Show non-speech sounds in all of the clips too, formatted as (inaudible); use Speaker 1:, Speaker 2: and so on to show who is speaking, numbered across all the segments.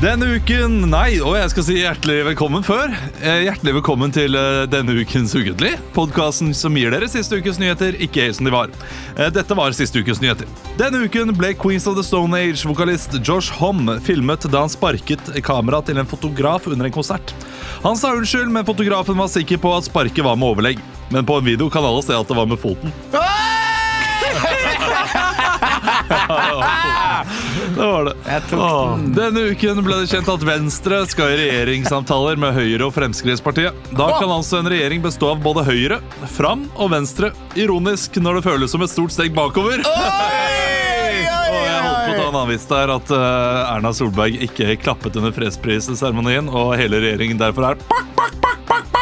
Speaker 1: Denne uken Nei, og jeg skal si hjertelig velkommen før. Eh, Hjertelig velkommen til eh, denne ukens Ukentlig. Podkasten som gir dere siste ukes nyheter, ikke helt som de var. Eh, Dette var siste ukes nyheter. Denne uken ble Queens of the Stone Age-vokalist Josh Homme filmet da han sparket kameraet til en fotograf under en konsert. Han sa unnskyld, men fotografen var sikker på at sparket var med overlegg. Men på en video kan alle se at det var med foten. (laughs) Det var det. Åh. Denne uken ble det kjent at Venstre skal i regjeringssamtaler med Høyre og Fremskrittspartiet. Da kan altså en regjering bestå av både Høyre, Fram og Venstre. Ironisk når det føles som et stort steg bakover. (laughs) Og jeg holdt på å ta en avis der at eh, Erna Solberg ikke klappet under fredsprisseremonien, og hele regjeringen derfor er bak, bak, bak, bak, bak.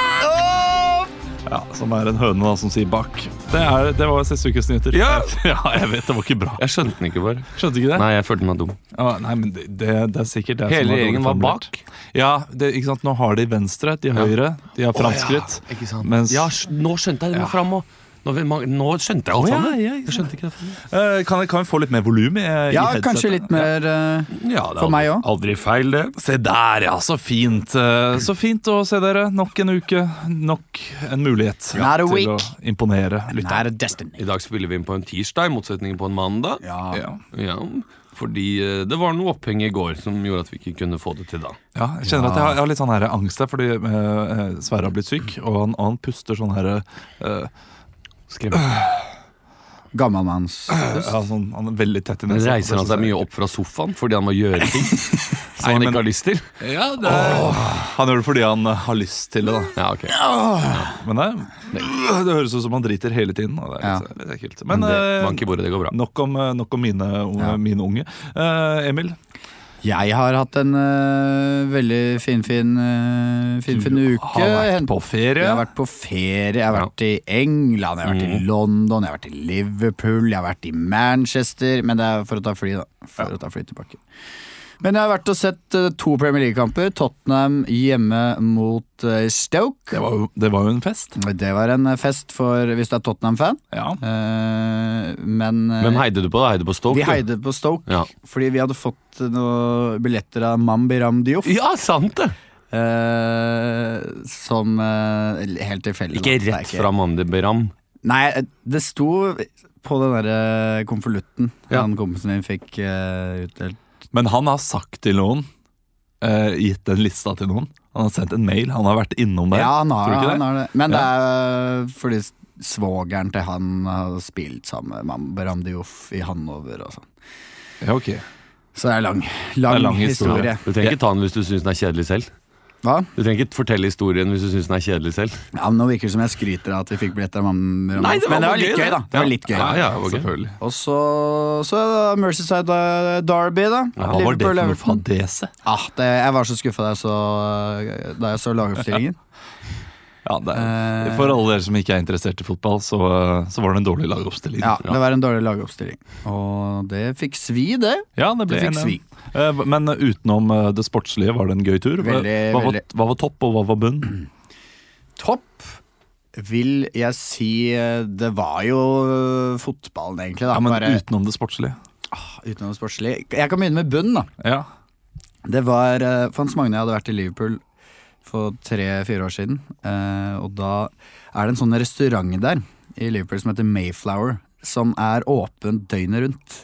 Speaker 1: Ja, Som er en høne da, som sier bak. Det, er, det var siste ukes nyheter.
Speaker 2: Ja.
Speaker 1: ja, (laughs) jeg vet det var ikke bra.
Speaker 2: Jeg skjønte den ikke bare.
Speaker 1: Skjønte ikke det?
Speaker 2: Nei, jeg følte meg dum.
Speaker 1: Ja, nei, men det, det, det er sikkert det
Speaker 2: Hele
Speaker 1: som dårlig
Speaker 2: regjeringen var
Speaker 1: formulert.
Speaker 2: bak?
Speaker 1: Ja, det, ikke sant? Nå har de venstre, de har høyre, de har framskritt.
Speaker 2: Ikke sant?
Speaker 1: Mens,
Speaker 2: Ja, sk- nå skjønte jeg det med fram og nå, nå skjønte jeg alt
Speaker 1: ja,
Speaker 2: sammen.
Speaker 1: ja,
Speaker 2: Jeg skjønte ikke det. før.
Speaker 1: Eh, kan, jeg- kan vi få litt mer volum? i- i
Speaker 3: Ja,
Speaker 1: headsetet?
Speaker 3: kanskje litt mer eh,
Speaker 2: Ja, det er
Speaker 3: For meg
Speaker 2: aldri-
Speaker 3: også.
Speaker 2: Aldri feil, det.
Speaker 1: Se der, ja. Så fint. Eh, Så fint å se dere. Nok en uke, nok en mulighet
Speaker 3: Not a
Speaker 1: til
Speaker 3: week.
Speaker 1: å imponere lytterne.
Speaker 3: Not a destiny.
Speaker 2: I dag spiller vi inn på en tirsdag, i motsetning på en mandag.
Speaker 3: Ja.
Speaker 1: Ja.
Speaker 2: Ja, fordi eh, det var noe oppheng i går som gjorde at vi ikke kunne få det til da.
Speaker 1: Ja, jeg kjenner at jeg har, jeg har litt sånn her angst her, fordi eh, eh, Sverre har blitt syk, og han, og han puster sånn her eh,
Speaker 2: Skremmende.
Speaker 3: Gammalmanns
Speaker 1: ja, sånn, Han er veldig tett i
Speaker 2: Men
Speaker 1: nesa.
Speaker 2: reiser han seg mye opp fra sofaen fordi han må gjøre ting som han
Speaker 1: men-
Speaker 2: ikke har lyst til?
Speaker 1: Ja, det er... Han gjør det fordi han eh, har lyst til det, da.
Speaker 2: Ja, ok.
Speaker 1: Men det, det høres ut som han driter hele tiden. Og det er litt, litt ekkelt. Men,
Speaker 2: Men det,
Speaker 1: eh,
Speaker 2: bank i bordet, det går bra.
Speaker 1: nok om, eh, nok om mine, unge,
Speaker 3: Ja.
Speaker 1: mine unge. Eh, Emil,
Speaker 3: Jeg har hatt en eh, veldig finfin uh, fin, fin uke.
Speaker 1: har vært
Speaker 3: Hen-
Speaker 1: på ferie.
Speaker 3: Jeg har vært på ferie. Jeg har
Speaker 2: Ja. Mm.
Speaker 3: vært i England, jeg har vært i London, jeg har vært i Liverpool, jeg har vært i Manchester. Men det er for å ta fly, da. For å ta fly tilbake. Men jeg har vært og sett eh, to Premier League-kamper. Tottenham hjemme mot eh, Stoke.
Speaker 1: Det, var jo, det var jo en fest.
Speaker 3: Det var en eh, fest for hvis du er Tottenham-fan.
Speaker 1: Ja.
Speaker 3: Eh, men eh,
Speaker 2: Hvem heide du på? da? Heide på Stoke?
Speaker 3: vi
Speaker 2: du?
Speaker 3: heide på Stoke
Speaker 2: Ja.
Speaker 3: fordi vi hadde fått eh, noen billetter av Mambi Ram Diouf.
Speaker 2: ja, sant det!
Speaker 3: eh, som eh, helt tilfeldig.
Speaker 2: Ikke
Speaker 3: da. Det er
Speaker 2: rett fra Mandi Beram.
Speaker 3: Nei, det sto på den derre konvolutten
Speaker 2: Ja.
Speaker 3: han kompisen din fikk eh, utdelt.
Speaker 1: Men han har sagt til noen, eh, gitt den lista til noen. Han har sendt en mail, han har vært innom der.
Speaker 3: Ja, han har,
Speaker 1: Tror du ikke det?
Speaker 3: han har det. Men
Speaker 1: Ja.
Speaker 3: det er eh, fordi s- svogeren til han har spilt sammen med Mambi Ram Diouf i Hannover og sånn.
Speaker 1: Ja, ok.
Speaker 3: Så det er lang, lang,
Speaker 1: lang historie.
Speaker 3: historie.
Speaker 2: Du trenger ikke ta den hvis du syns den er kjedelig selv.
Speaker 3: Hva?
Speaker 2: Du trenger ikke fortelle historien hvis du syns den er kjedelig selv.
Speaker 3: Ja, men Nå virker det som jeg skryter av at vi fikk billetter av Mambi Ram
Speaker 2: Nei,
Speaker 3: Diouf.
Speaker 2: det var
Speaker 3: Men det
Speaker 2: bare
Speaker 3: var litt
Speaker 2: gøy,
Speaker 3: gøy,
Speaker 2: det.
Speaker 3: da. Det var litt gøy.
Speaker 2: Ja, ja, det var gøy.
Speaker 1: Selvfølgelig.
Speaker 3: Og så, så er det Merseyside eh, Derby, da.
Speaker 1: Hva var det for noe
Speaker 3: Liverpool-Everton.
Speaker 1: fadese?
Speaker 3: Ah, det, jeg var så skuffa da jeg så, eh, da jeg så lagoppstillingen.
Speaker 1: Ja, det er,
Speaker 3: Eh.
Speaker 1: for alle dere som ikke er interessert i fotball, så, eh, så var det en dårlig lagoppstilling.
Speaker 3: Ja, Det var en dårlig lagoppstilling. Og det fikk svi, det.
Speaker 1: Ja, det ble
Speaker 3: Det fikk
Speaker 1: en- Eh, Men utenom eh, det sportslige, var det en gøy tur? Hva-
Speaker 3: Veldig,
Speaker 1: hva, var-
Speaker 3: veldig.
Speaker 1: hva var topp, og hva var bunn?
Speaker 3: Topp vil jeg si eh, Det var jo eh, fotballen, egentlig. Da.
Speaker 1: Ja, men
Speaker 3: Bare ah,
Speaker 1: utenom det sportslige.
Speaker 3: utenom det sportslige. Jeg kan begynne med bunnen, da.
Speaker 1: Ja.
Speaker 3: Det var eh, For Hans Magne hadde vært i Liverpool for tre-fire år siden. eh, og da er det en sånn restaurant der i Liverpool som heter Mayflower, som er åpen døgnet rundt.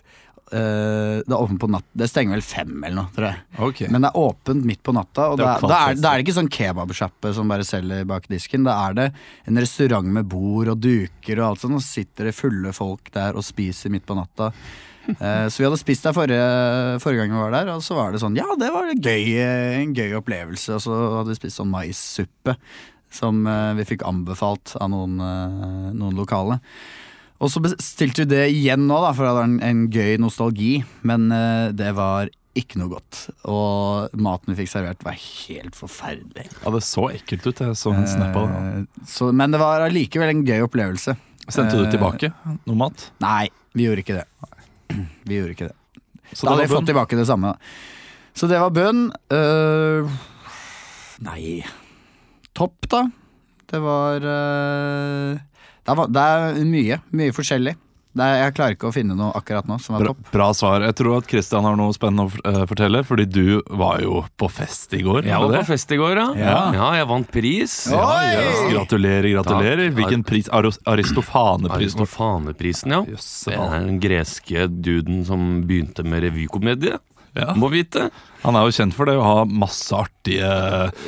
Speaker 3: Eh, det er åpent på natt Det stenger vel fem eller noe, tror jeg.
Speaker 1: Ok.
Speaker 3: Men det er åpent midt på natta, og
Speaker 1: Det
Speaker 3: da,
Speaker 1: er jo
Speaker 3: da, er,
Speaker 1: kvalitet,
Speaker 3: da er det ikke sånn kebabsjappe som bare selger bak disken. Da er det en restaurant med bord og duker og alt sånt, og så sitter det fulle folk der og spiser midt på
Speaker 1: (laughs)
Speaker 3: natta. Eh, så vi hadde spist der forrige, forrige gang vi var der, og så var det sånn Ja, det var gøy, eh, en gøy opplevelse. Og så hadde vi spist sånn maissuppe som eh, vi fikk anbefalt av noen, eh, noen lokale. Og så bestilte vi det igjen nå, da, for det var en, en gøy nostalgi. Men eh, det var ikke noe godt. Og maten vi fikk servert, var helt forferdelig.
Speaker 1: ja, det så ekkelt ut. Jeg så en snap av det.
Speaker 3: Eh, så, men det var allikevel en gøy opplevelse.
Speaker 1: Sendte du
Speaker 3: eh,
Speaker 1: tilbake noe mat?
Speaker 3: Nei, vi gjorde ikke det. (clears throat) Vi gjorde ikke det.
Speaker 1: Så
Speaker 3: Da hadde vi
Speaker 1: det var
Speaker 3: fått
Speaker 1: bunn.
Speaker 3: tilbake det samme. da. Så det var bønn. Eh, nei Topp, da. Det var eh, det, var, det er mye. Mye forskjellig. Nei, jeg klarer ikke å finne noe akkurat nå som er
Speaker 1: Bra,
Speaker 3: topp.
Speaker 1: bra svar. Jeg tror at Christian har noe spennende å f- eh, fortelle, fordi du var jo på fest i går.
Speaker 2: Jeg
Speaker 1: var
Speaker 2: var
Speaker 1: det
Speaker 2: på fest i går, ja. Ja,
Speaker 3: Ja.
Speaker 2: jeg vant pris.
Speaker 3: Ja.
Speaker 1: det? Gratulerer, gratulerer.
Speaker 2: Takk.
Speaker 1: Hvilken pris? Aros- Aristofaneprisen.
Speaker 2: Aristofaneprisen, ja.
Speaker 1: Jøsse
Speaker 2: Det
Speaker 1: navn.
Speaker 2: er den greske duden som begynte med revykomedie.
Speaker 1: Ja.
Speaker 2: Må vite.
Speaker 1: Han er jo kjent for det å ha masse artige,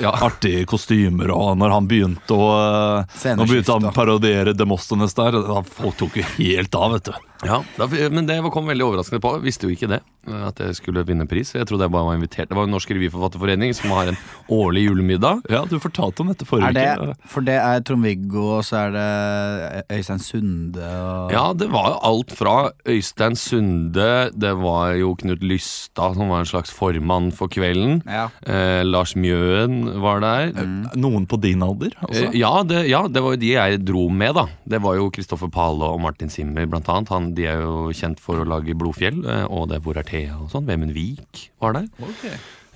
Speaker 2: Ja.
Speaker 1: artige kostymer. Og når han begynte å eh, Nå begynte han
Speaker 3: Sceneskift,
Speaker 1: å parodiere Demosthenes der. Da folk tok jo helt av, vet du.
Speaker 2: Ja, da, men det kom veldig overraskende på. Jeg visste jo ikke det, at jeg skulle vinne pris. Jeg trodde jeg bare var invitert. Det var jo Norsk revyforfatterforening som har en årlig julemiddag.
Speaker 1: Ja, Du fortalte om dette
Speaker 3: Er
Speaker 1: forrige
Speaker 3: det,
Speaker 1: uke.
Speaker 3: for det er Trond-Viggo, og så er det Øystein Sunde og
Speaker 2: Ja, det var jo alt fra Øystein Sunde, det var jo Knut Lystad som var en slags formann for kvelden.
Speaker 3: Ja.
Speaker 2: Eh, Lars Mjøen var der.
Speaker 1: Mm. Noen på din alder
Speaker 2: Eh,
Speaker 1: også?
Speaker 2: Ja det, ja, det var jo de jeg dro med, da. Det var jo Kristoffer Pale og Martin Zimmer, blant annet. Han, de er jo kjent for å lage Blodfjell, eh, og det er Hvor er Thea og sånn. Vemund Vik var der.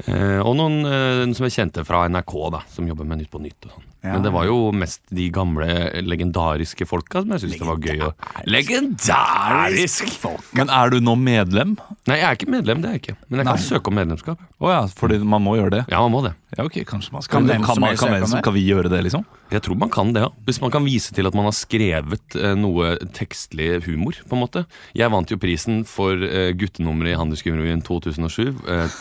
Speaker 2: Eh, og noen eh, som er kjente fra NRK, da, som jobber med Nytt på Nytt og sånn.
Speaker 3: Ja.
Speaker 2: Men det var jo mest de gamle, eh, legendariske folka som jeg syns det var gøy å Legendarisk!
Speaker 1: Men er du nå medlem?
Speaker 2: Nei, jeg er ikke medlem, det er jeg ikke. Men jeg kan søke om medlemskap.
Speaker 1: Å ja, fordi man må gjøre det.
Speaker 2: Ja, man må det.
Speaker 1: Ja, ok, kanskje man skal
Speaker 3: Kan
Speaker 1: Kan,
Speaker 3: hvem som
Speaker 1: man,
Speaker 3: helst søke
Speaker 1: kan, hvem
Speaker 3: om
Speaker 1: som,
Speaker 3: det?
Speaker 1: kan vi gjøre det, liksom?
Speaker 2: Jeg tror man kan det, ja. Hvis man kan vise til at man har skrevet eh, noe tekstlig humor, på en måte. Jeg vant jo prisen for eh, guttenummeret i Handelsgymnasien 2007. Eh,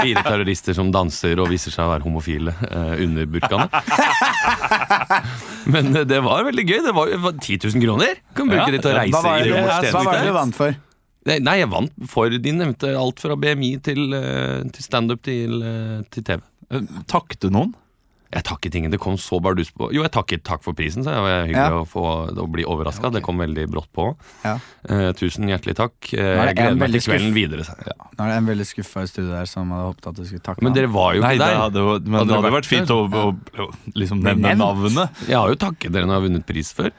Speaker 2: fire terrorister som danser og viser seg å være homofile eh, under burkaene. Men eh, det var veldig gøy. Det var jo det var 10 000 kroner! Kan bruke
Speaker 1: Ja,
Speaker 2: det til
Speaker 3: Hva
Speaker 2: å reise
Speaker 3: var
Speaker 2: i
Speaker 3: det,
Speaker 2: romersk
Speaker 3: hva var det du
Speaker 2: tjeneste.
Speaker 3: vant for?
Speaker 2: Nei, nei, jeg vant for de nevnte alt fra BMI til, eh, til standup til, eh, til TV.
Speaker 1: Eh, Takte noen?
Speaker 2: Jeg takket ingen. Det kom så bardus på Jo, jeg takket takk for prisen, så det var hyggelig
Speaker 3: Ja.
Speaker 2: å, få, å bli overraska. Det kom veldig brått på.
Speaker 3: Ja.
Speaker 2: Eh, tusen hjertelig takk. Eh,
Speaker 3: Nå er
Speaker 2: jeg
Speaker 3: det en
Speaker 2: gleder meg til
Speaker 3: veldig
Speaker 2: kvelden videre. sa jeg.
Speaker 3: Nå er det en veldig skuffa i studio her som hadde håpet at du skulle takke
Speaker 2: Men
Speaker 3: ham.
Speaker 2: dere var jo
Speaker 1: Nei,
Speaker 2: ikke
Speaker 1: det
Speaker 2: der.
Speaker 1: hadde, jo- men
Speaker 2: Hadde
Speaker 1: det
Speaker 2: du
Speaker 1: hadde
Speaker 2: vært
Speaker 1: vært fint å, å, å liksom nevne
Speaker 3: Nevnt.
Speaker 1: navnet.
Speaker 2: Jeg har jo takket dere når jeg har vunnet pris før.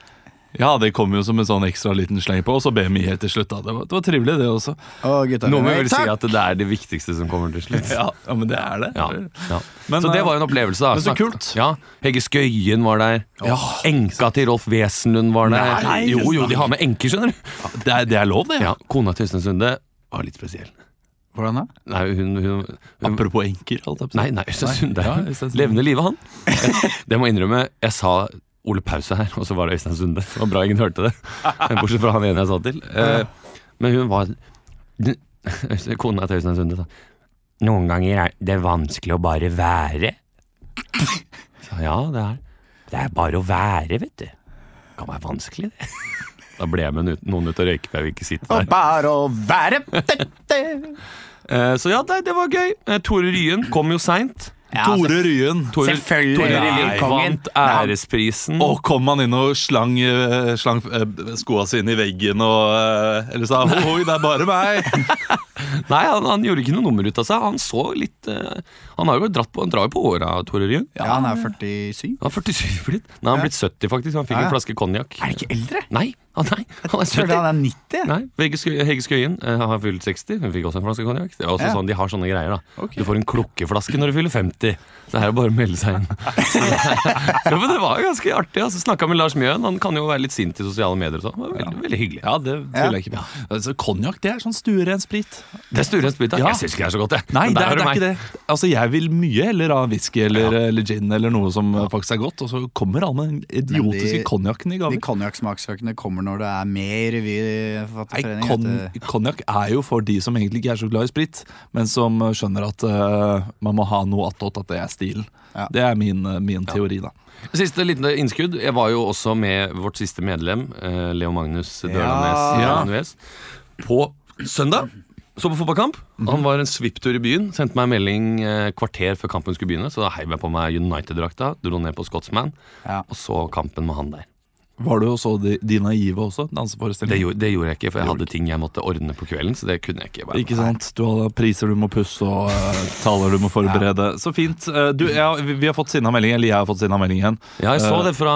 Speaker 1: Ja, det kom jo som en sånn ekstra liten sleng på, og så BMI helt til slutt. da. Det var, det var trivelig, det også.
Speaker 3: Å, gutta,
Speaker 2: Noen
Speaker 3: nei,
Speaker 2: vil vel si
Speaker 3: takk!
Speaker 2: at det er det viktigste som kommer til
Speaker 1: (laughs)
Speaker 2: slutt.
Speaker 1: Ja, ja men det er det.
Speaker 2: Ja, ja.
Speaker 1: Men,
Speaker 2: så det
Speaker 1: eh,
Speaker 2: var en opplevelse, da.
Speaker 1: men så
Speaker 2: Snak-
Speaker 1: kult.
Speaker 2: Ja, Hege Skøyen var der. Enka til Rolf Wesenlund var der.
Speaker 1: Nei,
Speaker 2: jo, jo, de har med enker, skjønner du.
Speaker 1: Det, er, det er lov, det.
Speaker 2: Ja, Kona til Øystein Sunde var litt spesiell.
Speaker 3: Hvordan da?
Speaker 2: Nei, hun, hun, hun
Speaker 1: Apropos enker. Alt
Speaker 2: Nei, nei, Øystein Sunde.
Speaker 1: Ja,
Speaker 2: er
Speaker 1: Øystein Sunde.
Speaker 2: Levende livet, han. (laughs) Jeg, det må jeg innrømme. Jeg sa Ole Pause her, og så var det Øystein Sunde. Det var bra ingen hørte det. Bortsett fra han ene jeg sa til. Eh, Men hun var Øystein- Kona til Øystein Sunde sa Noen ganger er det vanskelig å bare være. Så ja, det er Det er bare å være, vet du. Det kan være vanskelig, det. Da ble jeg med ut- noen ut og røyke, for jeg vil ikke sitte der.
Speaker 3: Og bare å være
Speaker 2: (laughs)
Speaker 3: dette.
Speaker 2: Eh, Så ja, nei, det var gøy. Eh, Tore Ryen kom jo seint.
Speaker 3: Ja,
Speaker 1: altså,
Speaker 3: altså,
Speaker 1: Tore Ryen.
Speaker 2: Tore,
Speaker 3: Selvfølgelig
Speaker 2: Tore Ryen
Speaker 3: Nei.
Speaker 2: vant æresprisen.
Speaker 1: Og kom han inn og slang, eh, slang eh, skoa sine i veggen og eh, Eller sa han, hoi, det er bare meg.
Speaker 2: Nei, han, han gjorde ikke noe nummer ut av seg. Han så litt eh, Han har jo dratt på Han drar jo på åra, Tore Ryen.
Speaker 3: Ja, han er 47.
Speaker 2: Han er 47 blitt. Nei, han er blitt 70, faktisk. Han fikk
Speaker 3: Ja, ja.
Speaker 2: en flaske konjakk.
Speaker 3: Er han ikke eldre?
Speaker 2: Nei, han, nei, han er
Speaker 3: Jeg følte
Speaker 2: 70.
Speaker 3: han er 90.
Speaker 2: Nei, Hege Skøy- Hege Skøyen eh, har fylt 60. Hun fikk også en flaske konjakk. Det er også
Speaker 3: Ja.
Speaker 2: sånn, De har sånne greier, da. Du får en klukkeflaske når du fyller 50. Så her er det bare å melde seg inn. (laughs) ja, men det var jo ganske artig. Altså, Snakka med Lars Mjøen. Han kan jo være litt sint i sosiale medier og sånn. Det var Veldig, veldig hyggelig.
Speaker 1: (laughs) Ja, det tviler jeg ikke på. Altså, Konjakk, det er sånn stueren sprit.
Speaker 2: Det er Sturens bit. da.
Speaker 1: Ja.
Speaker 2: Jeg syns ikke det er så godt, jeg.
Speaker 1: Nei,
Speaker 2: Men
Speaker 1: det
Speaker 2: der
Speaker 1: er, det
Speaker 2: har du
Speaker 1: er
Speaker 2: meg.
Speaker 1: ikke det. Altså, Jeg vil mye heller ha whisky eller, eh, eller gin eller noe som eh, faktisk er godt, og så kommer alle den idiotiske
Speaker 3: de-
Speaker 1: konjakken i
Speaker 3: De
Speaker 1: gaver.
Speaker 3: konjakksmaksøkene kommer når det er med i
Speaker 1: Nei,
Speaker 3: revyforfatterforeningen.
Speaker 1: kon
Speaker 3: vet du.
Speaker 1: Konjakk er jo for de som egentlig ikke er så glad i sprit, men som eh, skjønner at eh, man må ha noe attåt at det er stilen.
Speaker 3: Ja.
Speaker 1: Det er min, eh, min teori, da.
Speaker 2: Siste liten innskudd. Jeg var jo også med vårt siste medlem, eh, Leo Magnus Dørlandnes
Speaker 1: Ja.
Speaker 2: Manues, på søndag. Så på fotballkamp. Han var en svipptur i byen. Sendte meg en melding eh, kvarter før kampen skulle begynne. Så da heiv jeg på meg United-drakta, dro ned på Scotsman,
Speaker 3: Ja.
Speaker 2: og så kampen med han der.
Speaker 1: Var du også de, de naive også?
Speaker 2: Det
Speaker 1: Danseforestilling?
Speaker 2: gjorde, det gjorde jeg ikke, for jeg hadde ting jeg måtte ordne på kvelden. Så det kunne jeg ikke være med
Speaker 1: Ikke sant? Du har priser du må pusse og eh, taler du må forberede. Så fint. Eh, du, ja, vi, vi har fått sinna melding, eller jeg har fått sinna melding igjen.
Speaker 2: på. Ja, jeg så det fra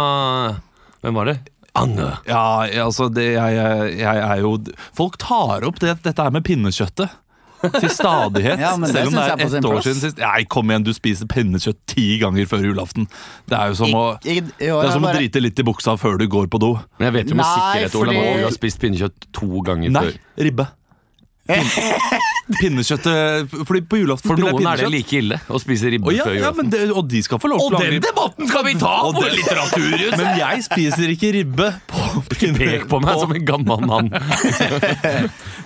Speaker 2: Hvem var det? Anne.
Speaker 1: Ja, altså det, jeg, jeg, jeg er jo Folk tar opp det, dette her med pinnekjøttet. til
Speaker 2: (laughs)
Speaker 1: stadighet.
Speaker 3: Ja, men det
Speaker 1: selv om
Speaker 3: synes
Speaker 1: det er
Speaker 3: jeg er på
Speaker 1: ett
Speaker 3: sin
Speaker 1: år
Speaker 3: plass.
Speaker 1: siden sist. Nei, kom igjen, du spiser pinnekjøtt ti ganger før julaften. Det er jo som å,
Speaker 3: I- i- i år
Speaker 1: det er som å
Speaker 3: bare-
Speaker 1: drite litt i buksa før du går på do.
Speaker 2: Men jeg vet jo med
Speaker 3: Nei,
Speaker 2: sikkerhet Olav,
Speaker 3: fordi-
Speaker 2: at du har spist pinnekjøtt to ganger
Speaker 1: Nei,
Speaker 2: før.
Speaker 1: ribbe.
Speaker 2: (laughs)
Speaker 1: Pin- Pinnekjøttet Fordi på julaften
Speaker 2: For
Speaker 1: spiller jeg
Speaker 2: noen er det
Speaker 1: pinnekjøtt.
Speaker 2: like ille å spise ribbe
Speaker 1: Å, ja,
Speaker 2: før
Speaker 1: ja,
Speaker 2: julaften.
Speaker 1: men det, og de skal få lov til å angripe.
Speaker 2: debatten skal vi ta
Speaker 1: Og det-
Speaker 2: Litteraturhuset!
Speaker 1: Men jeg spiser ikke ribbe på pinne...
Speaker 2: Pek på meg som en gammel mann.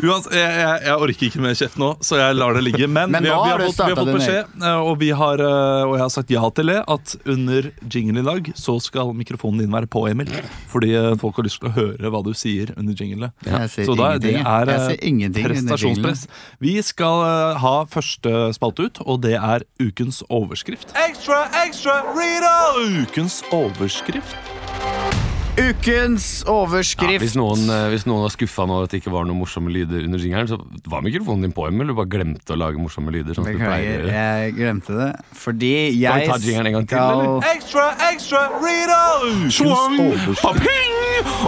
Speaker 1: Uans, jeg, jeg, jeg orker ikke mer kjeft nå, så jeg lar det
Speaker 3: (laughs)
Speaker 1: ligge. Men,
Speaker 3: Men
Speaker 1: vi,
Speaker 3: nå
Speaker 1: har, vi,
Speaker 3: har
Speaker 1: har
Speaker 3: du
Speaker 1: fått, vi har
Speaker 3: startet
Speaker 1: fått
Speaker 3: din
Speaker 1: beskjed, eh, og, vi har, eh, og jeg har sagt ja til det, at under jinglen i dag så skal mikrofonen din være på, Emil. Fordi eh, folk har lyst til å høre hva du sier under jinglene.
Speaker 3: Jeg sier
Speaker 1: Så da, det
Speaker 3: ingenting.
Speaker 1: er
Speaker 3: jeg
Speaker 1: eh,
Speaker 3: sier ingenting under
Speaker 1: prestasjonspress. Vi skal eh, ha første spalte ut, og det er ukens overskrift. Extra, extra, Rita! Ukens overskrift.
Speaker 3: jinglen. Ukens
Speaker 2: Ja,
Speaker 3: overskrift.
Speaker 2: hvis, noen, eh, hvis noen var skuffa nå at det ikke var noen morsomme lyder under jingeren, så var mikrofonen din på, Emil. Du bare glemte å lage morsomme lyder. Sånn som du
Speaker 3: Beklager,
Speaker 2: pleier å gjøre.
Speaker 3: jeg glemte det. Fordi
Speaker 2: Skal vi
Speaker 3: jeg
Speaker 2: ta jingeren en gang til, eller?
Speaker 1: Extra, extra, Rita!
Speaker 3: Schwung,
Speaker 1: paping,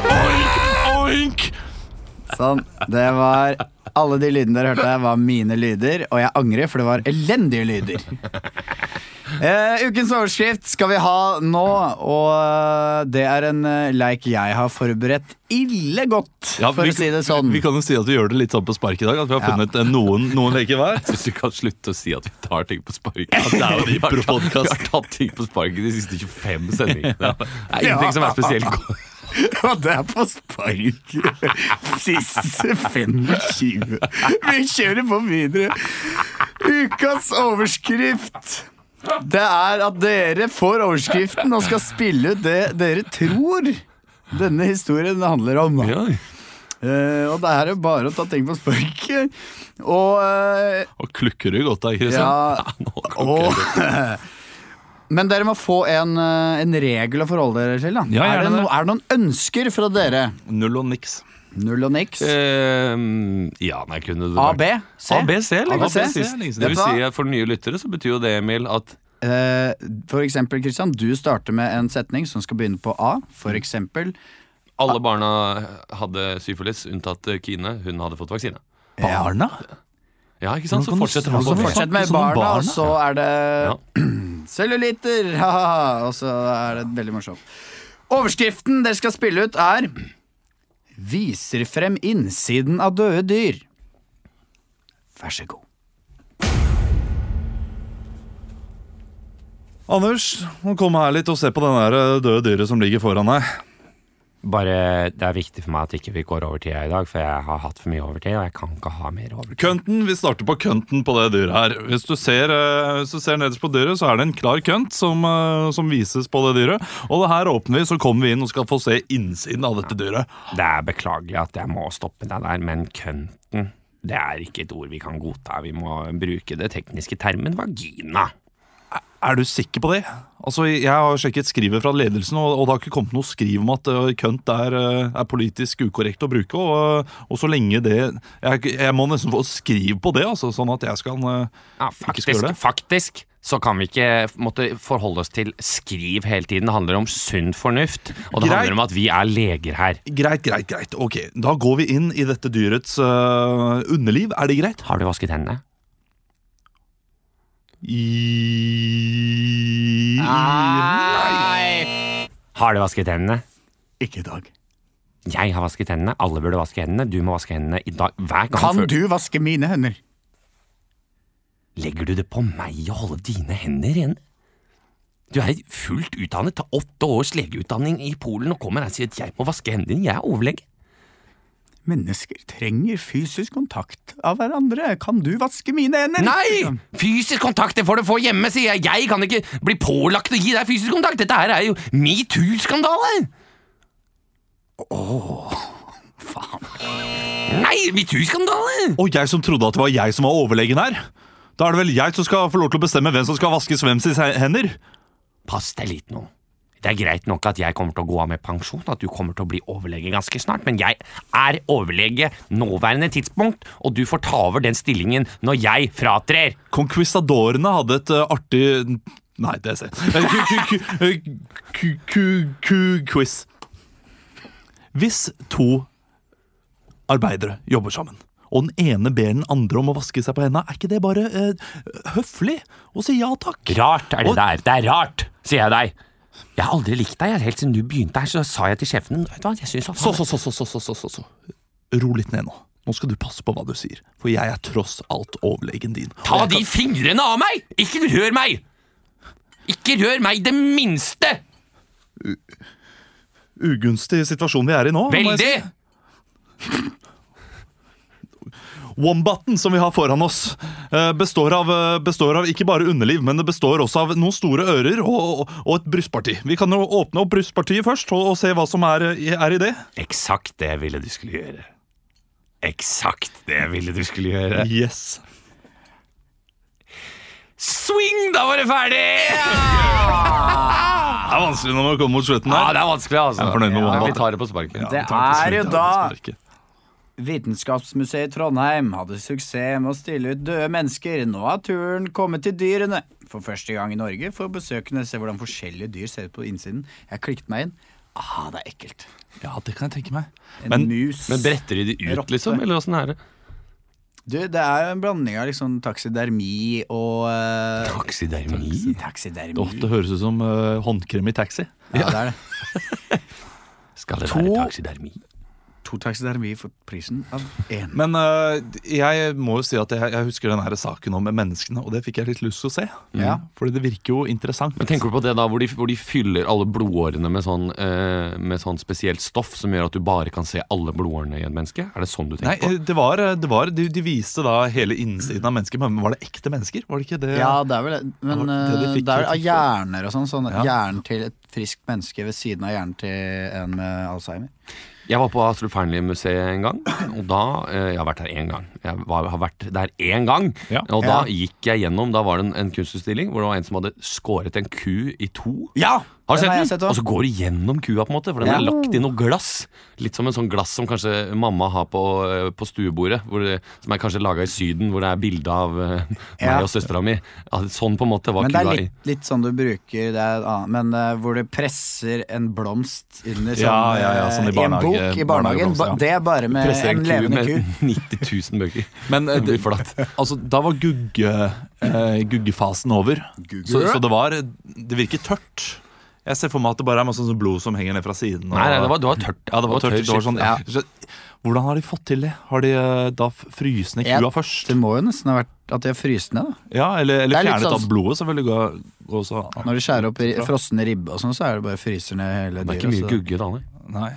Speaker 1: oink, oink.
Speaker 3: (laughs) Sånn. Det var Alle de lydene dere hørte, var mine lyder, og jeg angrer, for det var elendige lyder.
Speaker 1: (laughs)
Speaker 3: Eh, ukens overskrift skal vi ha nå, og det er en eh, leik jeg har forberedt ille godt, for å si det sånn.
Speaker 1: Vi kan jo si at vi gjør det litt sånn på spark i dag. At vi har
Speaker 3: Ja.
Speaker 1: funnet eh, noen, noen leker hver.
Speaker 2: Jeg syns du kan slutte å si at vi tar ting på sparket.
Speaker 1: det er jo en
Speaker 2: (laughs) Vi har tatt-
Speaker 1: impro-podcast.
Speaker 2: Vi har tatt ting på sparket de siste 25 sendingene. Det er ingenting som er spesielt godt.
Speaker 3: (laughs) Og det er på spark. Siste 25. Vi kjører på videre. Ukas overskrift. Det er at dere får overskriften og skal spille ut det dere tror denne historien handler om.
Speaker 2: Ja.
Speaker 3: Eh, og det her er bare å ta ting på sparket. Og eh,
Speaker 1: Og klukker du godt da, Kristian?
Speaker 3: ja,
Speaker 2: Nå
Speaker 3: og (laughs) Men dere må få en, eh, en regel å forholde dere til. Da.
Speaker 1: Ja,
Speaker 3: er, det
Speaker 1: gjerne det.
Speaker 3: no, er det noen ønsker fra dere?
Speaker 1: Null og niks.
Speaker 3: Null og niks.
Speaker 2: Ehm, ja, nei, kunne det
Speaker 3: A,
Speaker 2: vært-
Speaker 3: B, C.
Speaker 2: Eh, A, B, C, eller?
Speaker 3: A, B, C.
Speaker 2: Det sist.
Speaker 1: Vet
Speaker 2: Det vil
Speaker 3: du hva?
Speaker 2: si at for nye lyttere så betyr jo det, Emil, at
Speaker 3: Eh, for eksempel, Kristian, du starter med en setning som skal begynne på A. For eksempel
Speaker 2: alle barna hadde syfilis, unntatt eh, Kine. Hun hadde fått vaksine.
Speaker 1: Barna?
Speaker 2: Ja, ikke sant?
Speaker 1: Hvordan kan
Speaker 2: Så
Speaker 1: du si
Speaker 2: fortsetter
Speaker 1: sånn?
Speaker 2: han på
Speaker 1: Hvorfor
Speaker 3: Fortsett med
Speaker 1: snakker vi sånn om
Speaker 3: barna, og
Speaker 1: barna?
Speaker 3: så er det (clears throat) (laughs)
Speaker 2: Ja.
Speaker 3: cellulitter! haha, og så er det veldig morsomt. Overskriften dere skal spille ut, er Viser frem innsiden av døde dyr. Vær så god.
Speaker 1: Anders, kom her litt og se på den der døde dyret som ligger foran deg.
Speaker 4: Bare, Det er viktig for meg at ikke vi går over tida i dag, for jeg har hatt for mye overtid. Og jeg kan ikke ha mer overtid.
Speaker 1: Kønten, Vi starter på kønten på det dyret her. Hvis du ser, eh, hvis du ser nederst på dyret, så er det en klar kønt som, eh, som vises på det dyret. Og det her åpner vi, så kommer vi inn og skal få se innsiden av dette dyret.
Speaker 4: Det er beklagelig at jeg må stoppe deg der, men kønten det er ikke et ord vi kan godta. Vi må bruke det tekniske termen vagina.
Speaker 1: Er du sikker på det? Altså, Jeg har sjekket skrivet fra ledelsen, og, og det har ikke kommet noe skriv om at eh, kønt er, eh, er politisk ukorrekt å bruke. Og, og så lenge det jeg, jeg må nesten få skriv på det, altså, sånn at jeg skal eh,
Speaker 4: Ja,
Speaker 1: Ikke skal
Speaker 4: faktisk,
Speaker 1: gjøre det.
Speaker 4: faktisk så kan vi ikke måtte forholde oss til skriv hele tiden. Det handler om sunn fornuft, og det
Speaker 1: Greit.
Speaker 4: handler om at vi er leger her.
Speaker 1: Greit, greit, greit. Ok, Da går vi inn i dette dyrets eh, underliv. Er det greit?
Speaker 4: Har du vasket hendene?
Speaker 1: I...
Speaker 4: Har du vasket hendene?
Speaker 3: Ikke i dag.
Speaker 4: Jeg har vasket hendene. Alle burde vaske hendene. Du må vaske hendene i dag hver gang
Speaker 3: Kan
Speaker 4: før
Speaker 3: du vaske mine hender?
Speaker 4: Legger du det på meg å holde dine hender rene? Du er fullt utdannet, tar åtte års legeutdanning i Polen og kommer her og sier at jeg må vaske hendene dine, jeg er overlege.
Speaker 3: Mennesker trenger fysisk kontakt av hverandre. Kan du vaske mine hender?
Speaker 4: Nei! Liksom. Fysisk kontakt, det får du få hjemme, sier jeg. Jeg kan ikke bli pålagt å gi deg fysisk kontakt. Dette her er jo metoo-skandale. Åh, faen. Nei, metoo-skandale!
Speaker 1: Og jeg som trodde at det var jeg som var overlegen her. Da er det vel jeg som skal få lov til å bestemme hvem som skal vaskes hvem sine hender.
Speaker 4: Pass deg litt nå. Det er greit nok at jeg kommer til å gå av med pensjon, at du kommer til å bli overlege ganske snart, men jeg er overlege nåværende tidspunkt, og du får ta over den stillingen når jeg fratrer.
Speaker 1: Conquistadorene hadde et eh, artig Nei, det ser jeg. Ku- eh, ku- ku- ku- ku- Quiz. Hvis to arbeidere jobber sammen, og den ene ber den andre om å vaske seg på henda, er ikke det bare eh, høflig å si ja takk?
Speaker 4: Rart er det
Speaker 1: Og-
Speaker 4: der. Det er rart, sier jeg deg. Jeg har aldri likt deg. jeg. Helt siden du begynte her, så sa jeg til sjefen min, Vet du hva, jeg synes at
Speaker 1: Så, så,
Speaker 4: han
Speaker 1: så, så, så, så, så, så, så. Ro litt ned nå. Nå skal du passe på hva du sier, for jeg er tross alt overlegen din.
Speaker 4: Ta
Speaker 1: Og jeg
Speaker 4: de fingrene av meg! Ikke rør meg! Ikke rør meg det minste!
Speaker 1: kan- Ugunstig situasjon vi er i nå. må jeg
Speaker 4: Veldig!
Speaker 1: si. Wombaten som vi har foran oss, eh, består av, eh, består av ikke bare underliv, men det består også av noen store ører og, og, og et brystparti. Vi kan jo åpne opp brystpartiet først og, og se hva som er, eh, i- er i det.
Speaker 4: Eksakt det jeg ville du skulle gjøre. Eksakt det jeg ville du skulle gjøre.
Speaker 1: Yes.
Speaker 4: Swing, da var det ferdig!
Speaker 1: Det er vanskelig når man kommer mot slutten
Speaker 4: Ja,
Speaker 1: her.
Speaker 4: det er vanskelig, altså.
Speaker 1: Jeg er fornøyd med
Speaker 2: Ja,
Speaker 1: Wombat.
Speaker 2: vi tar det på sparket.
Speaker 1: vi tar
Speaker 3: Det er jo
Speaker 1: sparket,
Speaker 3: da-
Speaker 1: sparket.
Speaker 3: Vitenskapsmuseet i Trondheim hadde suksess med å stille ut døde mennesker. Nå har turen kommet til dyrene. For første gang i Norge får besøkende se hvordan forskjellige dyr ser ut på innsiden. Jeg klikket meg inn. Ah, det er ekkelt.
Speaker 1: Ja, det kan jeg tenke meg.
Speaker 3: En
Speaker 1: Men-
Speaker 3: mus.
Speaker 2: Men bretter de de ut,
Speaker 3: Rotte.
Speaker 2: liksom? Eller åssen er det?
Speaker 3: Du, det er jo en blanding av liksom taksidermi og eh,
Speaker 4: Taksidermi?
Speaker 3: Taksidermi.
Speaker 1: Åh, det høres ut som eh, håndkrem i taxi.
Speaker 3: Ja, det er det.
Speaker 4: Skal det
Speaker 1: To-
Speaker 4: være taksidermi?
Speaker 3: To taksidermi for prisen av én.
Speaker 1: Men eh, jeg må jo si at jeg, jeg husker den her saken om menneskene, og det fikk jeg litt lyst til å se.
Speaker 3: Ja.
Speaker 1: Fordi det virker jo interessant.
Speaker 2: Men tenker du på det da, hvor de, hvor de fyller alle blodårene med sånn, eh, med sånn spesielt stoff som gjør at du bare kan se alle blodårene i et menneske? Er det sånn du
Speaker 1: Nei,
Speaker 2: tenker
Speaker 1: eh, det var, det var de, de viste da hele innsiden av mennesker, men var det ekte mennesker? Var det ikke det?
Speaker 3: Ja, det er vel Men
Speaker 1: Det var det de
Speaker 3: eh,
Speaker 1: fikk
Speaker 3: det er vel av
Speaker 1: kritikk
Speaker 3: hjerner og sånn. sånn
Speaker 1: Ja.
Speaker 3: Hjernen til et friskt menneske ved siden av hjernen til en med alzheimer.
Speaker 2: på? Jeg var på Astrup Fearnley-museet en gang, og da eh, Jeg har vært der én gang. Jeg var, har vært der én gang,
Speaker 1: Ja.
Speaker 2: og
Speaker 3: Ja.
Speaker 2: da gikk jeg gjennom Da var det en, en kunstutstilling hvor det var en som hadde skåret en ku i to.
Speaker 3: Ja!
Speaker 2: Har du sett
Speaker 3: har
Speaker 2: den?
Speaker 3: jeg sett også.
Speaker 2: og så går du gjennom kua, på en måte, for den
Speaker 3: Ja.
Speaker 2: er lagt i noe glass. Litt som en sånn glass som kanskje mamma har på, eh, på stuebordet, hvor det, som er kanskje laga i Syden, hvor det er bilde av eh, meg
Speaker 3: Ja.
Speaker 2: og søstera mi. Ja, sånn på en måte var
Speaker 3: Men det er
Speaker 2: kua i.
Speaker 3: litt, litt sånn du bruker det er, et annet- Men eh, hvor du presser en blomst under sånn,
Speaker 1: Ja, ja, ja,
Speaker 3: eh,
Speaker 1: sånn i
Speaker 3: i en bok
Speaker 1: barnehage-
Speaker 3: i barnehagen.
Speaker 1: barnehageblomst, ja.
Speaker 3: Ba- Det er bare med
Speaker 2: Presser
Speaker 3: eh, en, levende ku.
Speaker 2: (laughs) 90 000 bøker.
Speaker 1: Men eh,
Speaker 2: Det blir
Speaker 1: det,
Speaker 2: flatt.
Speaker 1: (laughs) altså, da var gugge, eh, guggefasen over. Så, så det var eh, Det virket tørt. Jeg ser for meg at det bare er masse sånn blod som henger ned fra siden. og-
Speaker 2: Nei, nei, det var, det var tørt.
Speaker 1: Ja, det var tørt. Det var sånn,
Speaker 2: ja.
Speaker 1: Så- Hvordan har de fått til det? Har de eh, da f- frysende
Speaker 3: Ja.
Speaker 1: kua først?
Speaker 3: Det må jo nesten ha vært at de har fryst ned, da.
Speaker 1: Ja, Eller, eller
Speaker 3: Det er litt
Speaker 1: fjernet
Speaker 3: sånn-
Speaker 1: av blodet, selvfølgelig. Gå, gå så,
Speaker 3: Når du skjærer opp ri- frosne ribbe og sånn, så er det bare fryser ned hele
Speaker 2: Det
Speaker 3: dyret.
Speaker 2: er ikke mye
Speaker 3: så-
Speaker 2: gugge, da. nei.
Speaker 1: nei.